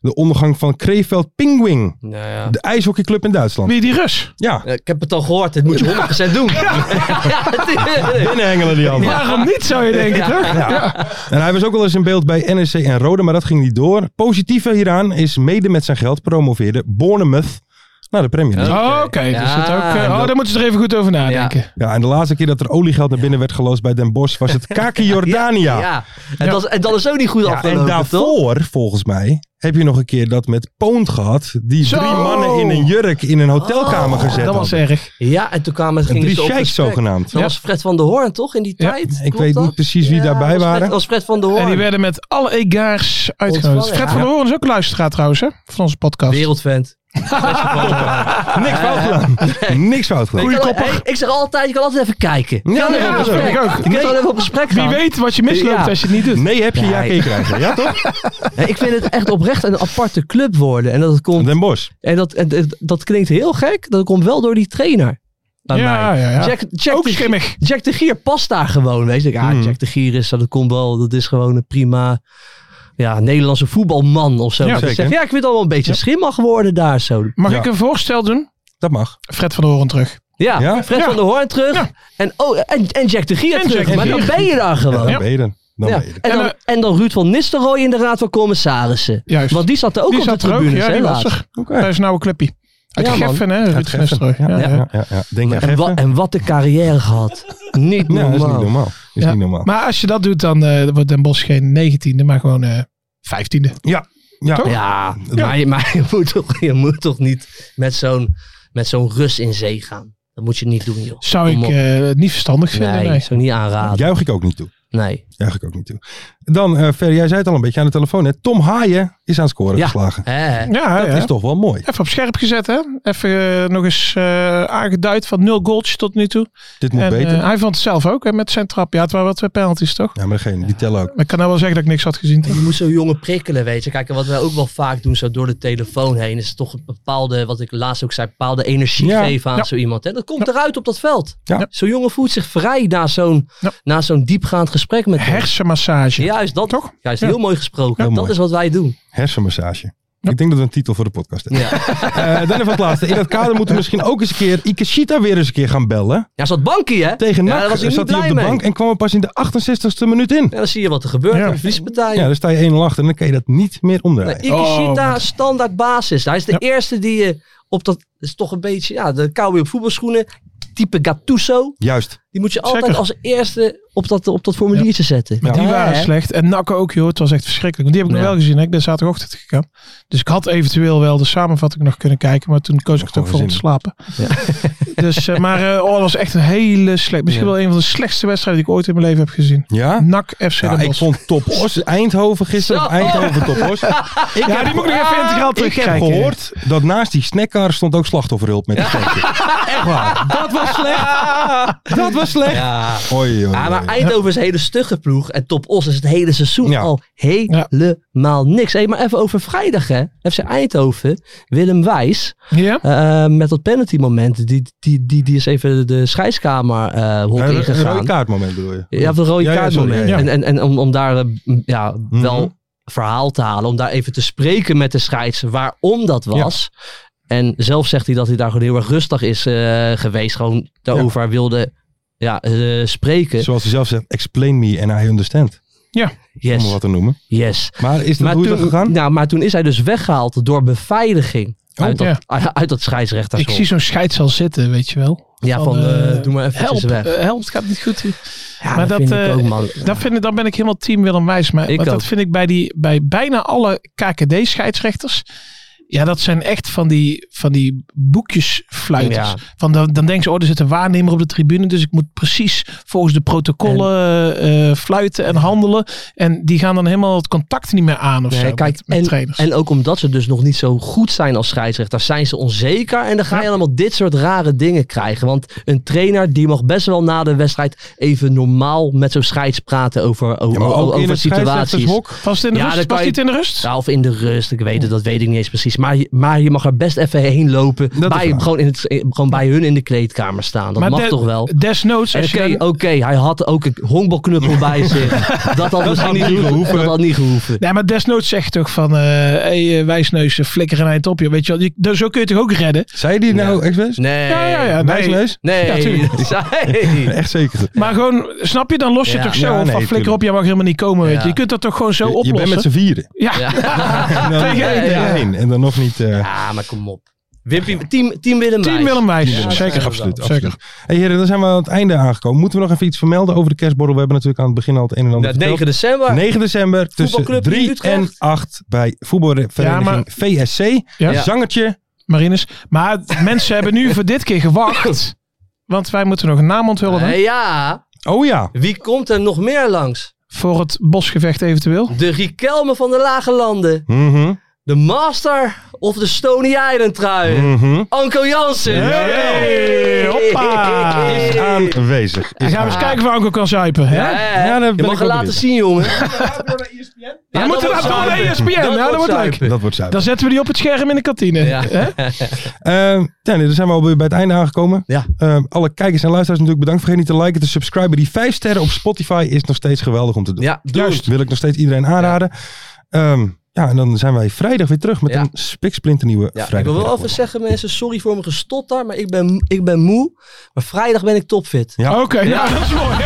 [SPEAKER 4] de ondergang van Krefeld Pingwing.
[SPEAKER 5] Nou ja.
[SPEAKER 4] De ijshockeyclub in Duitsland.
[SPEAKER 6] Wie die Rus?
[SPEAKER 4] Ja.
[SPEAKER 5] Ik heb het al gehoord, dit moet je 100% doen. Ja.
[SPEAKER 4] Binnenhengelen die handen.
[SPEAKER 6] Waarom niet, zou je denken, toch?
[SPEAKER 4] Ja. En hij was ook wel eens in beeld bij NEC en Rode, maar dat ging niet door. Positieve hieraan is mede met zijn geld promoveerde Bournemouth naar de Premier League.
[SPEAKER 6] Oh, Oké,
[SPEAKER 5] Ja,
[SPEAKER 6] dus dat ook, eh,
[SPEAKER 5] dat-
[SPEAKER 6] oh, daar moeten ze er even goed over nadenken.
[SPEAKER 4] Ja, en de laatste keer dat er oliegeld naar binnen werd geloosd bij Den Bosch was het Kaki Jordania.
[SPEAKER 5] Ja. En,
[SPEAKER 6] Ja.
[SPEAKER 5] Dat, is- en dat is ook niet goed
[SPEAKER 4] Ja, en
[SPEAKER 5] afgelopen, toch?
[SPEAKER 4] daarvoor, volgens mij, heb je nog een keer dat met Poont gehad. Die
[SPEAKER 6] Zo!
[SPEAKER 4] drie mannen in een jurk in een hotelkamer
[SPEAKER 5] Oh,
[SPEAKER 4] gezet
[SPEAKER 6] Dat was
[SPEAKER 4] hadden.
[SPEAKER 6] erg.
[SPEAKER 5] Ja, en toen kwamen
[SPEAKER 4] En
[SPEAKER 5] gingen
[SPEAKER 4] drie
[SPEAKER 5] ze op
[SPEAKER 4] sheiks
[SPEAKER 5] gesprek.
[SPEAKER 4] zogenaamd.
[SPEAKER 5] Dat was Fred van der Hoorn, toch, in die
[SPEAKER 6] Ja.
[SPEAKER 5] tijd?
[SPEAKER 4] Ik
[SPEAKER 5] Klopt
[SPEAKER 4] weet
[SPEAKER 5] dat?
[SPEAKER 4] niet precies wie
[SPEAKER 5] Ja,
[SPEAKER 4] daarbij
[SPEAKER 5] dat was Fred-
[SPEAKER 4] waren.
[SPEAKER 5] Dat was Fred van der Hoorn.
[SPEAKER 6] En die werden met alle egaars uitgenodigd.
[SPEAKER 5] Ontvangen,
[SPEAKER 6] Fred
[SPEAKER 5] ja.
[SPEAKER 6] van der Hoorn is ook een luisteraar trouwens, hè? Van onze podcast.
[SPEAKER 5] Wereldvent. Ah.
[SPEAKER 4] Niks fout gedaan. Niks fout gedaan.
[SPEAKER 5] Ik, kan- hey, ik zeg altijd, je kan altijd even kijken.
[SPEAKER 4] Ja,
[SPEAKER 5] Kan
[SPEAKER 4] ja,
[SPEAKER 5] even op
[SPEAKER 4] dat
[SPEAKER 5] gesprek.
[SPEAKER 6] vind ik ook.
[SPEAKER 5] Je kan altijd even op gesprek
[SPEAKER 6] Wie
[SPEAKER 5] gaan.
[SPEAKER 6] weet wat je misloopt
[SPEAKER 5] Ja.
[SPEAKER 6] als je het niet doet.
[SPEAKER 4] Nee heb je ja
[SPEAKER 5] Nee.
[SPEAKER 4] keer krijgen. Ja toch?
[SPEAKER 5] Hey, Ik vind het echt oprecht een aparte club worden. En dat, het komt,
[SPEAKER 4] Den Bosch.
[SPEAKER 5] en dat, en, en dat klinkt heel gek. Dat komt wel door die trainer. Bij
[SPEAKER 6] Ja,
[SPEAKER 5] mij.
[SPEAKER 6] ja, ja.
[SPEAKER 5] Jack, Jack
[SPEAKER 6] ook
[SPEAKER 5] de-
[SPEAKER 6] schimmig.
[SPEAKER 5] Jack de Gier past daar gewoon. Weet je, ja,
[SPEAKER 4] Hmm.
[SPEAKER 5] Jack de Gier is dat komt wel. Dat is gewoon een prima ja, Nederlandse voetbalman of zo.
[SPEAKER 6] Ja,
[SPEAKER 5] Dus ik
[SPEAKER 4] zeker.
[SPEAKER 5] zeg, ja, ik vind al wel een beetje schimmig worden daar zo.
[SPEAKER 6] Mag
[SPEAKER 4] Ja.
[SPEAKER 6] ik een voorstel doen?
[SPEAKER 4] Dat mag.
[SPEAKER 6] Fred van der Hoorn terug.
[SPEAKER 5] Ja,
[SPEAKER 4] Ja?
[SPEAKER 5] Fred
[SPEAKER 6] Ja.
[SPEAKER 5] van der Hoorn terug.
[SPEAKER 6] Ja.
[SPEAKER 5] En, oh, en, en Jack de Gier
[SPEAKER 6] En
[SPEAKER 5] terug.
[SPEAKER 6] Jack de
[SPEAKER 5] maar
[SPEAKER 6] Gier.
[SPEAKER 5] dan ben je daar
[SPEAKER 4] Ja,
[SPEAKER 5] gewoon.
[SPEAKER 4] dan
[SPEAKER 6] Ja.
[SPEAKER 4] ben je er. Dan
[SPEAKER 5] Ja.
[SPEAKER 4] ben je er.
[SPEAKER 5] En,
[SPEAKER 6] En, eh,
[SPEAKER 5] dan, en dan Ruud van Nistelrooy in de Raad van Commissarissen.
[SPEAKER 6] Juist.
[SPEAKER 5] Want die zat er ook
[SPEAKER 6] die
[SPEAKER 5] op
[SPEAKER 6] zat
[SPEAKER 5] de
[SPEAKER 6] er ook.
[SPEAKER 5] tribune.
[SPEAKER 6] Ja, die was er. Bij zijn oude clubpie. Uit
[SPEAKER 5] Ja, man.
[SPEAKER 6] Geffen, hè? Ruud van
[SPEAKER 4] Geffen.
[SPEAKER 6] Nistelrooy. Ja, ja.
[SPEAKER 4] Ja, ja, ja. Denk je
[SPEAKER 5] En, wa-
[SPEAKER 4] even?
[SPEAKER 5] en wat een carrière gehad. Niet
[SPEAKER 4] Nee,
[SPEAKER 5] normaal.
[SPEAKER 4] dat is niet normaal. Dat is
[SPEAKER 6] Ja.
[SPEAKER 4] niet normaal.
[SPEAKER 6] Maar als je dat doet, dan eh, wordt Den Bosch geen negentiende, maar gewoon eh vijftiende.
[SPEAKER 4] Ja.
[SPEAKER 5] Ja, Maar, je, maar je, moet toch, je moet toch niet met zo'n met zo'n rus in zee gaan. Dat moet je niet doen, joh.
[SPEAKER 6] Zou
[SPEAKER 5] Kom
[SPEAKER 6] ik
[SPEAKER 5] op.
[SPEAKER 6] eh, niet verstandig vinden.
[SPEAKER 5] nee,
[SPEAKER 6] Nee.
[SPEAKER 5] zou niet aanraden.
[SPEAKER 4] Juich ik ook niet toe.
[SPEAKER 5] Nee.
[SPEAKER 4] Juich ik ook niet toe. Dan, eh Ferry, jij zei het al een beetje aan de telefoon. Hè? Tom Haaien is aan het scoren
[SPEAKER 5] Ja.
[SPEAKER 4] geslagen.
[SPEAKER 5] Hè?
[SPEAKER 6] Ja,
[SPEAKER 4] Dat
[SPEAKER 6] ja.
[SPEAKER 4] is toch wel mooi.
[SPEAKER 6] Even op scherp gezet, hè? Even eh, nog eens eh, aangeduid van nul goals tot nu toe.
[SPEAKER 4] Dit moet
[SPEAKER 6] En,
[SPEAKER 4] beter.
[SPEAKER 6] eh, hij vond het zelf ook hè, met zijn trap. Ja, het waren wel twee penalties, toch?
[SPEAKER 4] ja, maar degene, die tellen ook.
[SPEAKER 6] Maar ik kan nou wel zeggen dat ik niks had gezien.
[SPEAKER 5] Je moet zo'n jongen prikkelen, weet je. Kijk, en wat wij ook wel vaak doen, zo door de telefoon heen, is toch een bepaalde, wat ik laatst ook zei, bepaalde energie
[SPEAKER 4] Ja.
[SPEAKER 5] geven aan
[SPEAKER 6] Ja.
[SPEAKER 5] zo iemand. En dat komt eruit op dat veld.
[SPEAKER 4] Ja.
[SPEAKER 5] Zo'n jongen voelt zich vrij na zo'n
[SPEAKER 6] Ja.
[SPEAKER 5] na zo'n diepgaand gesprek met hem.
[SPEAKER 6] Hersenmassage.
[SPEAKER 5] Juist dat.
[SPEAKER 6] Toch?
[SPEAKER 5] Juist,
[SPEAKER 6] Ja.
[SPEAKER 5] heel mooi gesproken.
[SPEAKER 4] Heel
[SPEAKER 5] dat
[SPEAKER 4] mooi.
[SPEAKER 5] is wat wij doen.
[SPEAKER 4] Hersenmassage. Ik denk dat we een titel voor de podcast hebben.
[SPEAKER 5] Ja.
[SPEAKER 4] Eh, dan even het laatste. In dat kader moeten we misschien ook eens een keer Ikeshita weer eens een keer gaan bellen.
[SPEAKER 5] Ja, zat bankie, hè?
[SPEAKER 4] Tegen
[SPEAKER 5] Ja,
[SPEAKER 4] NAC
[SPEAKER 5] daar was hij niet
[SPEAKER 4] zat hij op
[SPEAKER 5] blij
[SPEAKER 4] de
[SPEAKER 5] mee.
[SPEAKER 4] bank en kwam er pas in de 68ste minuut in.
[SPEAKER 5] Ja, dan zie je wat er gebeurt.
[SPEAKER 6] Ja.
[SPEAKER 5] Ja. Verliespartij.
[SPEAKER 4] Ja, dan sta je 1-0 achter en dan kan je dat niet meer
[SPEAKER 5] Nou,
[SPEAKER 4] omdraaien.
[SPEAKER 5] Ikishita, standaard basis. Hij is de eerste die je op dat... is toch een beetje... Ja, de cowboy op voetbalschoenen. Type Gattuso.
[SPEAKER 4] Juist.
[SPEAKER 5] Die moet je altijd
[SPEAKER 6] Zeker.
[SPEAKER 5] als eerste op dat, op dat formuliertje zetten.
[SPEAKER 6] Maar die
[SPEAKER 5] Ja,
[SPEAKER 6] waren
[SPEAKER 5] hè?
[SPEAKER 6] slecht. En Nakken ook, joh. Het was echt verschrikkelijk. Want die heb ik nog
[SPEAKER 5] Ja.
[SPEAKER 6] wel gezien. Hè? Ik ben zaterdagochtend gegaan. Dus ik had eventueel wel de samenvatting nog kunnen kijken. Maar toen koos ik het ook voor om te slapen. dus, eh, maar eh, oh, dat was echt een hele slecht. Misschien wel een van de slechtste wedstrijden die ik ooit in mijn leven heb gezien.
[SPEAKER 4] Ja?
[SPEAKER 5] Nou,
[SPEAKER 6] Nak FC
[SPEAKER 4] Ja,
[SPEAKER 6] Den
[SPEAKER 4] ik
[SPEAKER 6] Bosch.
[SPEAKER 4] vond Top Os Eindhoven gisteren. of
[SPEAKER 5] Zo.
[SPEAKER 4] Eindhoven Top Os. Ik
[SPEAKER 6] Ja,
[SPEAKER 4] heb-
[SPEAKER 6] die moet ik nog
[SPEAKER 5] Ah,
[SPEAKER 6] even integraal
[SPEAKER 4] Ik heb
[SPEAKER 6] terugkijken.
[SPEAKER 4] gehoord dat naast die snackcar stond ook slachtofferhulp met een steentje. Echt waar. Dat was slecht. Dat was slecht.
[SPEAKER 5] Ja.
[SPEAKER 4] Oei, oei,
[SPEAKER 5] Ah, maar
[SPEAKER 4] oei.
[SPEAKER 5] Eindhoven is een hele stugge ploeg. En Top Os is het hele seizoen
[SPEAKER 4] Ja.
[SPEAKER 5] al helemaal niks. Hey, maar even over vrijdag, hè. FC Eindhoven, Willem Wijs.
[SPEAKER 6] Ja?
[SPEAKER 5] eh, met dat penalty moment. Die, die, die, die is even de scheidskamer eh hok
[SPEAKER 4] Een- Een
[SPEAKER 5] ingegaan.
[SPEAKER 4] rode kaartmoment bedoel je?
[SPEAKER 5] Ja, van rode
[SPEAKER 4] Ja, ja,
[SPEAKER 5] kaart
[SPEAKER 4] sorry,
[SPEAKER 5] moment.
[SPEAKER 4] ja, ja.
[SPEAKER 5] En, en, en om, om daar eh, m, ja,
[SPEAKER 4] Mhm.
[SPEAKER 5] wel verhaal te halen. Om daar even te spreken met de scheids waarom dat was. En zelf zegt hij dat hij daar gewoon heel erg rustig is eh, geweest. Gewoon daarover wilde ja, eh, spreken.
[SPEAKER 4] Zoals hij zelf zegt, explain me and I understand. Om het
[SPEAKER 5] Yes,
[SPEAKER 4] wat te noemen.
[SPEAKER 5] yes.
[SPEAKER 4] Maar is dat
[SPEAKER 5] Maar
[SPEAKER 4] hoe is dat
[SPEAKER 5] toen,
[SPEAKER 4] gegaan?
[SPEAKER 5] nou, maar toen is hij dus weggehaald door beveiliging.
[SPEAKER 4] Oh,
[SPEAKER 5] uit, dat,
[SPEAKER 6] ja.
[SPEAKER 5] uit dat scheidsrechter.
[SPEAKER 6] Ik zie zo'n scheids al zitten, weet je wel.
[SPEAKER 5] ja, van,
[SPEAKER 6] eh,
[SPEAKER 5] eh, doe maar even
[SPEAKER 6] Help,
[SPEAKER 5] weg.
[SPEAKER 6] eh, help, het gaat niet goed.
[SPEAKER 5] Ja,
[SPEAKER 6] maar dat,
[SPEAKER 5] vind ik
[SPEAKER 6] eh,
[SPEAKER 5] ook, man.
[SPEAKER 6] Dat vind ik, dan ben ik helemaal team Willem Wijs. Maar
[SPEAKER 5] Ik
[SPEAKER 6] want dat
[SPEAKER 5] ook.
[SPEAKER 6] vind ik bij, die, bij bijna alle KKD-scheidsrechters Ja, dat zijn echt van die, van die boekjesfluiters.
[SPEAKER 10] Ja.
[SPEAKER 6] Van dan, dan denken ze, oh, er zit een waarnemer op de tribune. Dus ik moet precies volgens de protocollen eh, fluiten en handelen. En die gaan dan helemaal het contact niet meer aan of
[SPEAKER 10] Nee,
[SPEAKER 6] zo
[SPEAKER 10] kijk,
[SPEAKER 6] met, met
[SPEAKER 10] en,
[SPEAKER 6] trainers.
[SPEAKER 10] en ook omdat ze dus nog niet zo goed zijn als scheidsrechter, zijn ze onzeker. En dan ga je allemaal dit soort rare dingen krijgen. Want een trainer die mag best wel na de wedstrijd even normaal met zo'n scheids praten over, over,
[SPEAKER 4] Ja, maar ook in
[SPEAKER 10] over
[SPEAKER 4] het
[SPEAKER 10] situaties.
[SPEAKER 4] scheidsrechtershok.
[SPEAKER 6] was het in de
[SPEAKER 10] Ja, dan
[SPEAKER 6] rust?
[SPEAKER 10] kan
[SPEAKER 6] Was
[SPEAKER 10] je-
[SPEAKER 6] dit in de rust?
[SPEAKER 10] Ja, of in de rust, ik weet het, dat weet ik niet eens precies. Maar, je- maar je mag er best even heen lopen.
[SPEAKER 4] is
[SPEAKER 10] Bij,
[SPEAKER 4] waar.
[SPEAKER 10] gewoon, in het, gewoon bij hun in de kleedkamer staan. Dat
[SPEAKER 6] Maar
[SPEAKER 10] mag
[SPEAKER 6] de-
[SPEAKER 10] toch wel?
[SPEAKER 6] Desnoods,
[SPEAKER 10] En
[SPEAKER 6] als
[SPEAKER 10] Oké,
[SPEAKER 6] je dan-
[SPEAKER 10] oké, hij had ook een honkbalknuppel bij zich. Dat had misschien
[SPEAKER 4] niet
[SPEAKER 10] niet
[SPEAKER 4] gehoeven.
[SPEAKER 10] gehoeven. Dat had niet gehoeven.
[SPEAKER 6] Nee, maar desnoods zegt toch van, eh hey, eh, wijsneus, flikker een eind op. Je, weet je wel, je, dus zo kun je toch ook redden?
[SPEAKER 4] Zei die nou expres?
[SPEAKER 10] Nee.
[SPEAKER 6] Ja, ja, ja. Nee.
[SPEAKER 4] Wijsneus?
[SPEAKER 10] Nee,
[SPEAKER 6] Ja, tuurlijk.
[SPEAKER 10] dat zei-
[SPEAKER 4] Echt zeker.
[SPEAKER 5] Nou
[SPEAKER 6] Maar gewoon, snap je, dan los je
[SPEAKER 10] Ja.
[SPEAKER 6] het toch zo
[SPEAKER 4] Ja,
[SPEAKER 6] op
[SPEAKER 4] nee,
[SPEAKER 6] van flikker op,
[SPEAKER 4] tuurlijk.
[SPEAKER 6] jij mag helemaal niet komen. Weet je.
[SPEAKER 10] Ja.
[SPEAKER 6] je kunt dat toch gewoon zo
[SPEAKER 4] je, je bent
[SPEAKER 6] oplossen?
[SPEAKER 4] met z'n vieren.
[SPEAKER 6] ja.
[SPEAKER 4] En dan
[SPEAKER 6] Tegen één.
[SPEAKER 4] tegen één. En dan nog niet... eh,
[SPEAKER 10] Ja, maar kom op. Wimpy, team, team Willem
[SPEAKER 6] Team
[SPEAKER 10] Wijs.
[SPEAKER 6] Willem Wijs.
[SPEAKER 10] Ja,
[SPEAKER 6] zeker,
[SPEAKER 10] ja,
[SPEAKER 4] Absoluut,
[SPEAKER 6] absoluut.
[SPEAKER 4] absoluut.
[SPEAKER 6] Zeker.
[SPEAKER 4] Hey heren, dan zijn we aan het einde aangekomen. Moeten we nog even iets vermelden over de kerstborrel? We hebben natuurlijk aan het begin al het een en ander
[SPEAKER 10] Ja, 9
[SPEAKER 4] verteld.
[SPEAKER 10] december.
[SPEAKER 4] 9 december tussen
[SPEAKER 10] Voetbalclub
[SPEAKER 4] 3
[SPEAKER 10] in Utrecht.
[SPEAKER 4] en 8 bij voetbalvereniging
[SPEAKER 6] Ja, maar-
[SPEAKER 4] VSC.
[SPEAKER 6] Ja.
[SPEAKER 10] Ja.
[SPEAKER 4] Zangertje.
[SPEAKER 6] Marinus. Maar mensen hebben nu voor dit keer gewacht. Want wij moeten nog een naam onthullen hè?
[SPEAKER 10] Eh, ja,
[SPEAKER 4] Oh ja.
[SPEAKER 10] wie komt er nog meer langs?
[SPEAKER 6] voor het bosgevecht eventueel.
[SPEAKER 10] De Riquelme van de Lage Landen.
[SPEAKER 4] Mhm,
[SPEAKER 10] De Master of de Stony Island trui.
[SPEAKER 4] mhm.
[SPEAKER 10] Anko Jansen.
[SPEAKER 6] Mm. Hey, hoppa.
[SPEAKER 4] Is aanwezig.
[SPEAKER 6] En
[SPEAKER 4] Is
[SPEAKER 6] gaan we eens kijken waar Anko kan zuipen. Hè?
[SPEAKER 10] Ja, hè?
[SPEAKER 4] Ja, daar ben
[SPEAKER 10] Eh, je
[SPEAKER 4] ik
[SPEAKER 10] mag
[SPEAKER 4] wel
[SPEAKER 10] het laten
[SPEAKER 4] benieuwd.
[SPEAKER 10] zien, jongen.
[SPEAKER 6] we
[SPEAKER 10] dat
[SPEAKER 6] moeten dat
[SPEAKER 10] wordt
[SPEAKER 6] gewoon naar ESPN.
[SPEAKER 10] zuipen.
[SPEAKER 6] Ja, nou, dat wordt leuk.
[SPEAKER 10] zuipen.
[SPEAKER 4] Dat wordt zuiver.
[SPEAKER 6] Dan zetten we die op het scherm in de kantine.
[SPEAKER 10] Ja.
[SPEAKER 6] Hè?
[SPEAKER 4] Eh, ja, nee, dan zijn we alweer bij het einde aangekomen.
[SPEAKER 10] Ja.
[SPEAKER 4] Eh, alle kijkers en luisteraars natuurlijk bedankt. Vergeet niet te liken, te subscriben. Die 5 sterren op Spotify is nog steeds geweldig om te doen.
[SPEAKER 10] Ja, doe
[SPEAKER 4] Juist.
[SPEAKER 10] het.
[SPEAKER 4] Wil ik nog steeds iedereen aanraden. Ja, ja en dan zijn wij vrijdag weer terug met
[SPEAKER 10] Ja.
[SPEAKER 4] een spiksplinternieuwe
[SPEAKER 10] Ja, ik
[SPEAKER 4] vrijdag.
[SPEAKER 10] wil wel even zeggen, mensen, sorry voor mijn gestotter, maar ik ben, ik ben moe. Maar vrijdag ben ik topfit.
[SPEAKER 4] Ja.
[SPEAKER 6] Oké, nou, dat is mooi.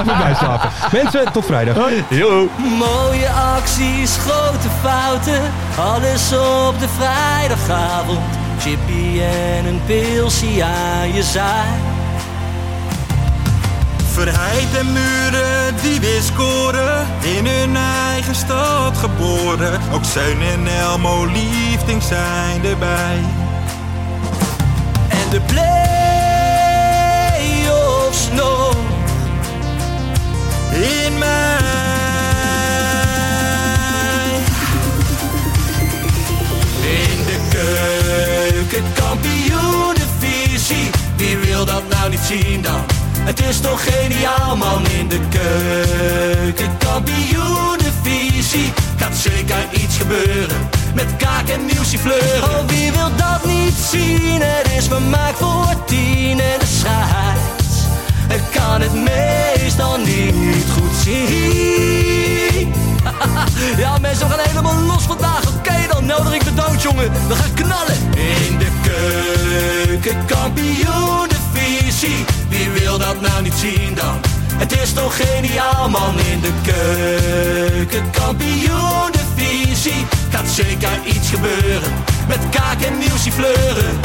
[SPEAKER 4] Even bijslapen. Mensen, tot vrijdag.
[SPEAKER 5] Mooie acties, grote fouten, alles op de vrijdagavond. Chippy en een pilsie aan je zaai.
[SPEAKER 3] Verheid en muren die weer scoren, in hun eigen stad geboren. Ook Zijn en Elmo liefding zijn erbij.
[SPEAKER 5] En de play-offs nog
[SPEAKER 3] In mij.
[SPEAKER 5] in de keuken, kampioenenvisie. Wie wil dat nou niet zien dan? Het is toch geniaal man in de keuken, kampioenenvisie. Gaat zeker iets gebeuren met kaak en nieuwsje fleuren. Oh, wie wil dat niet zien? Het is vermaakt voor tien en de scheids. Ik kan het meestal niet goed zien. Ja, mensen, we gaan helemaal los vandaag. Oké, dan nodig ik de dood, jongen. We gaan knallen. In de keuken, kampioenenvisie. Wie wil dat nou niet zien dan? Het is toch geniaal, man. In de keuken, kampioenenvisie. Gaat zeker iets gebeuren. Met kaak en nieuwsie fleuren.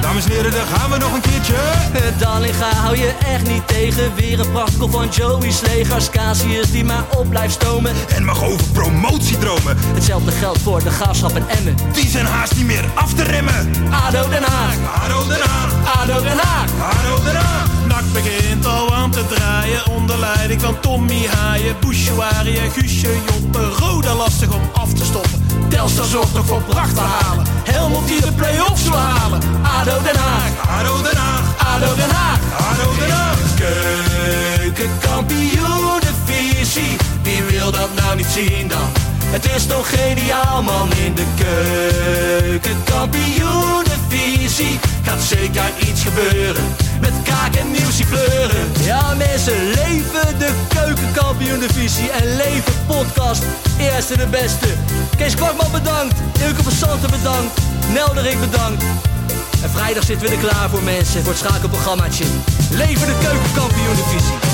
[SPEAKER 3] Dames en heren, daar gaan we nog een keertje.
[SPEAKER 5] Eh, Dallinga hou je echt niet tegen. Weer een prachtkel van Joey's legers. Casius die maar op blijft stomen.
[SPEAKER 3] En mag over promotiedromen,
[SPEAKER 5] Hetzelfde geldt voor de graafschap en Emmen.
[SPEAKER 3] die zijn haast niet meer af te remmen.
[SPEAKER 5] ADO Den Haag,
[SPEAKER 3] Haro Den Haag,
[SPEAKER 5] ADO Den Haag.
[SPEAKER 3] Haro Den Haag.
[SPEAKER 11] Nak begint al aan te draaien onder leiding van Tommy Haaien, Bouchouari en Guusje Joppen. Roda lastig om af te stoppen. Telstar zorgt nog voor pracht te halen. Helmond die de play-offs wil halen.
[SPEAKER 5] ADO Den Haag,
[SPEAKER 3] Haro Den Haag,
[SPEAKER 5] ADO Den Haag.
[SPEAKER 3] Haro Den Haag.
[SPEAKER 5] Keukenkampioenenvisie, wie wil dat nou niet zien dan? Het is toch geniaal man in de keukenkampioenenvisie. Gaat zeker iets gebeuren, met kaak en nieuwsie kleuren. Ja mensen, leven de keukenkampioenenvisie en leven podcast. Eerste de beste. Kees Kwakman bedankt, Ilke van Santen bedankt, Nelderik bedankt. En vrijdag zitten we er klaar voor mensen, voor het schakelprogrammaatje. Leven de keukenkampioen divisie.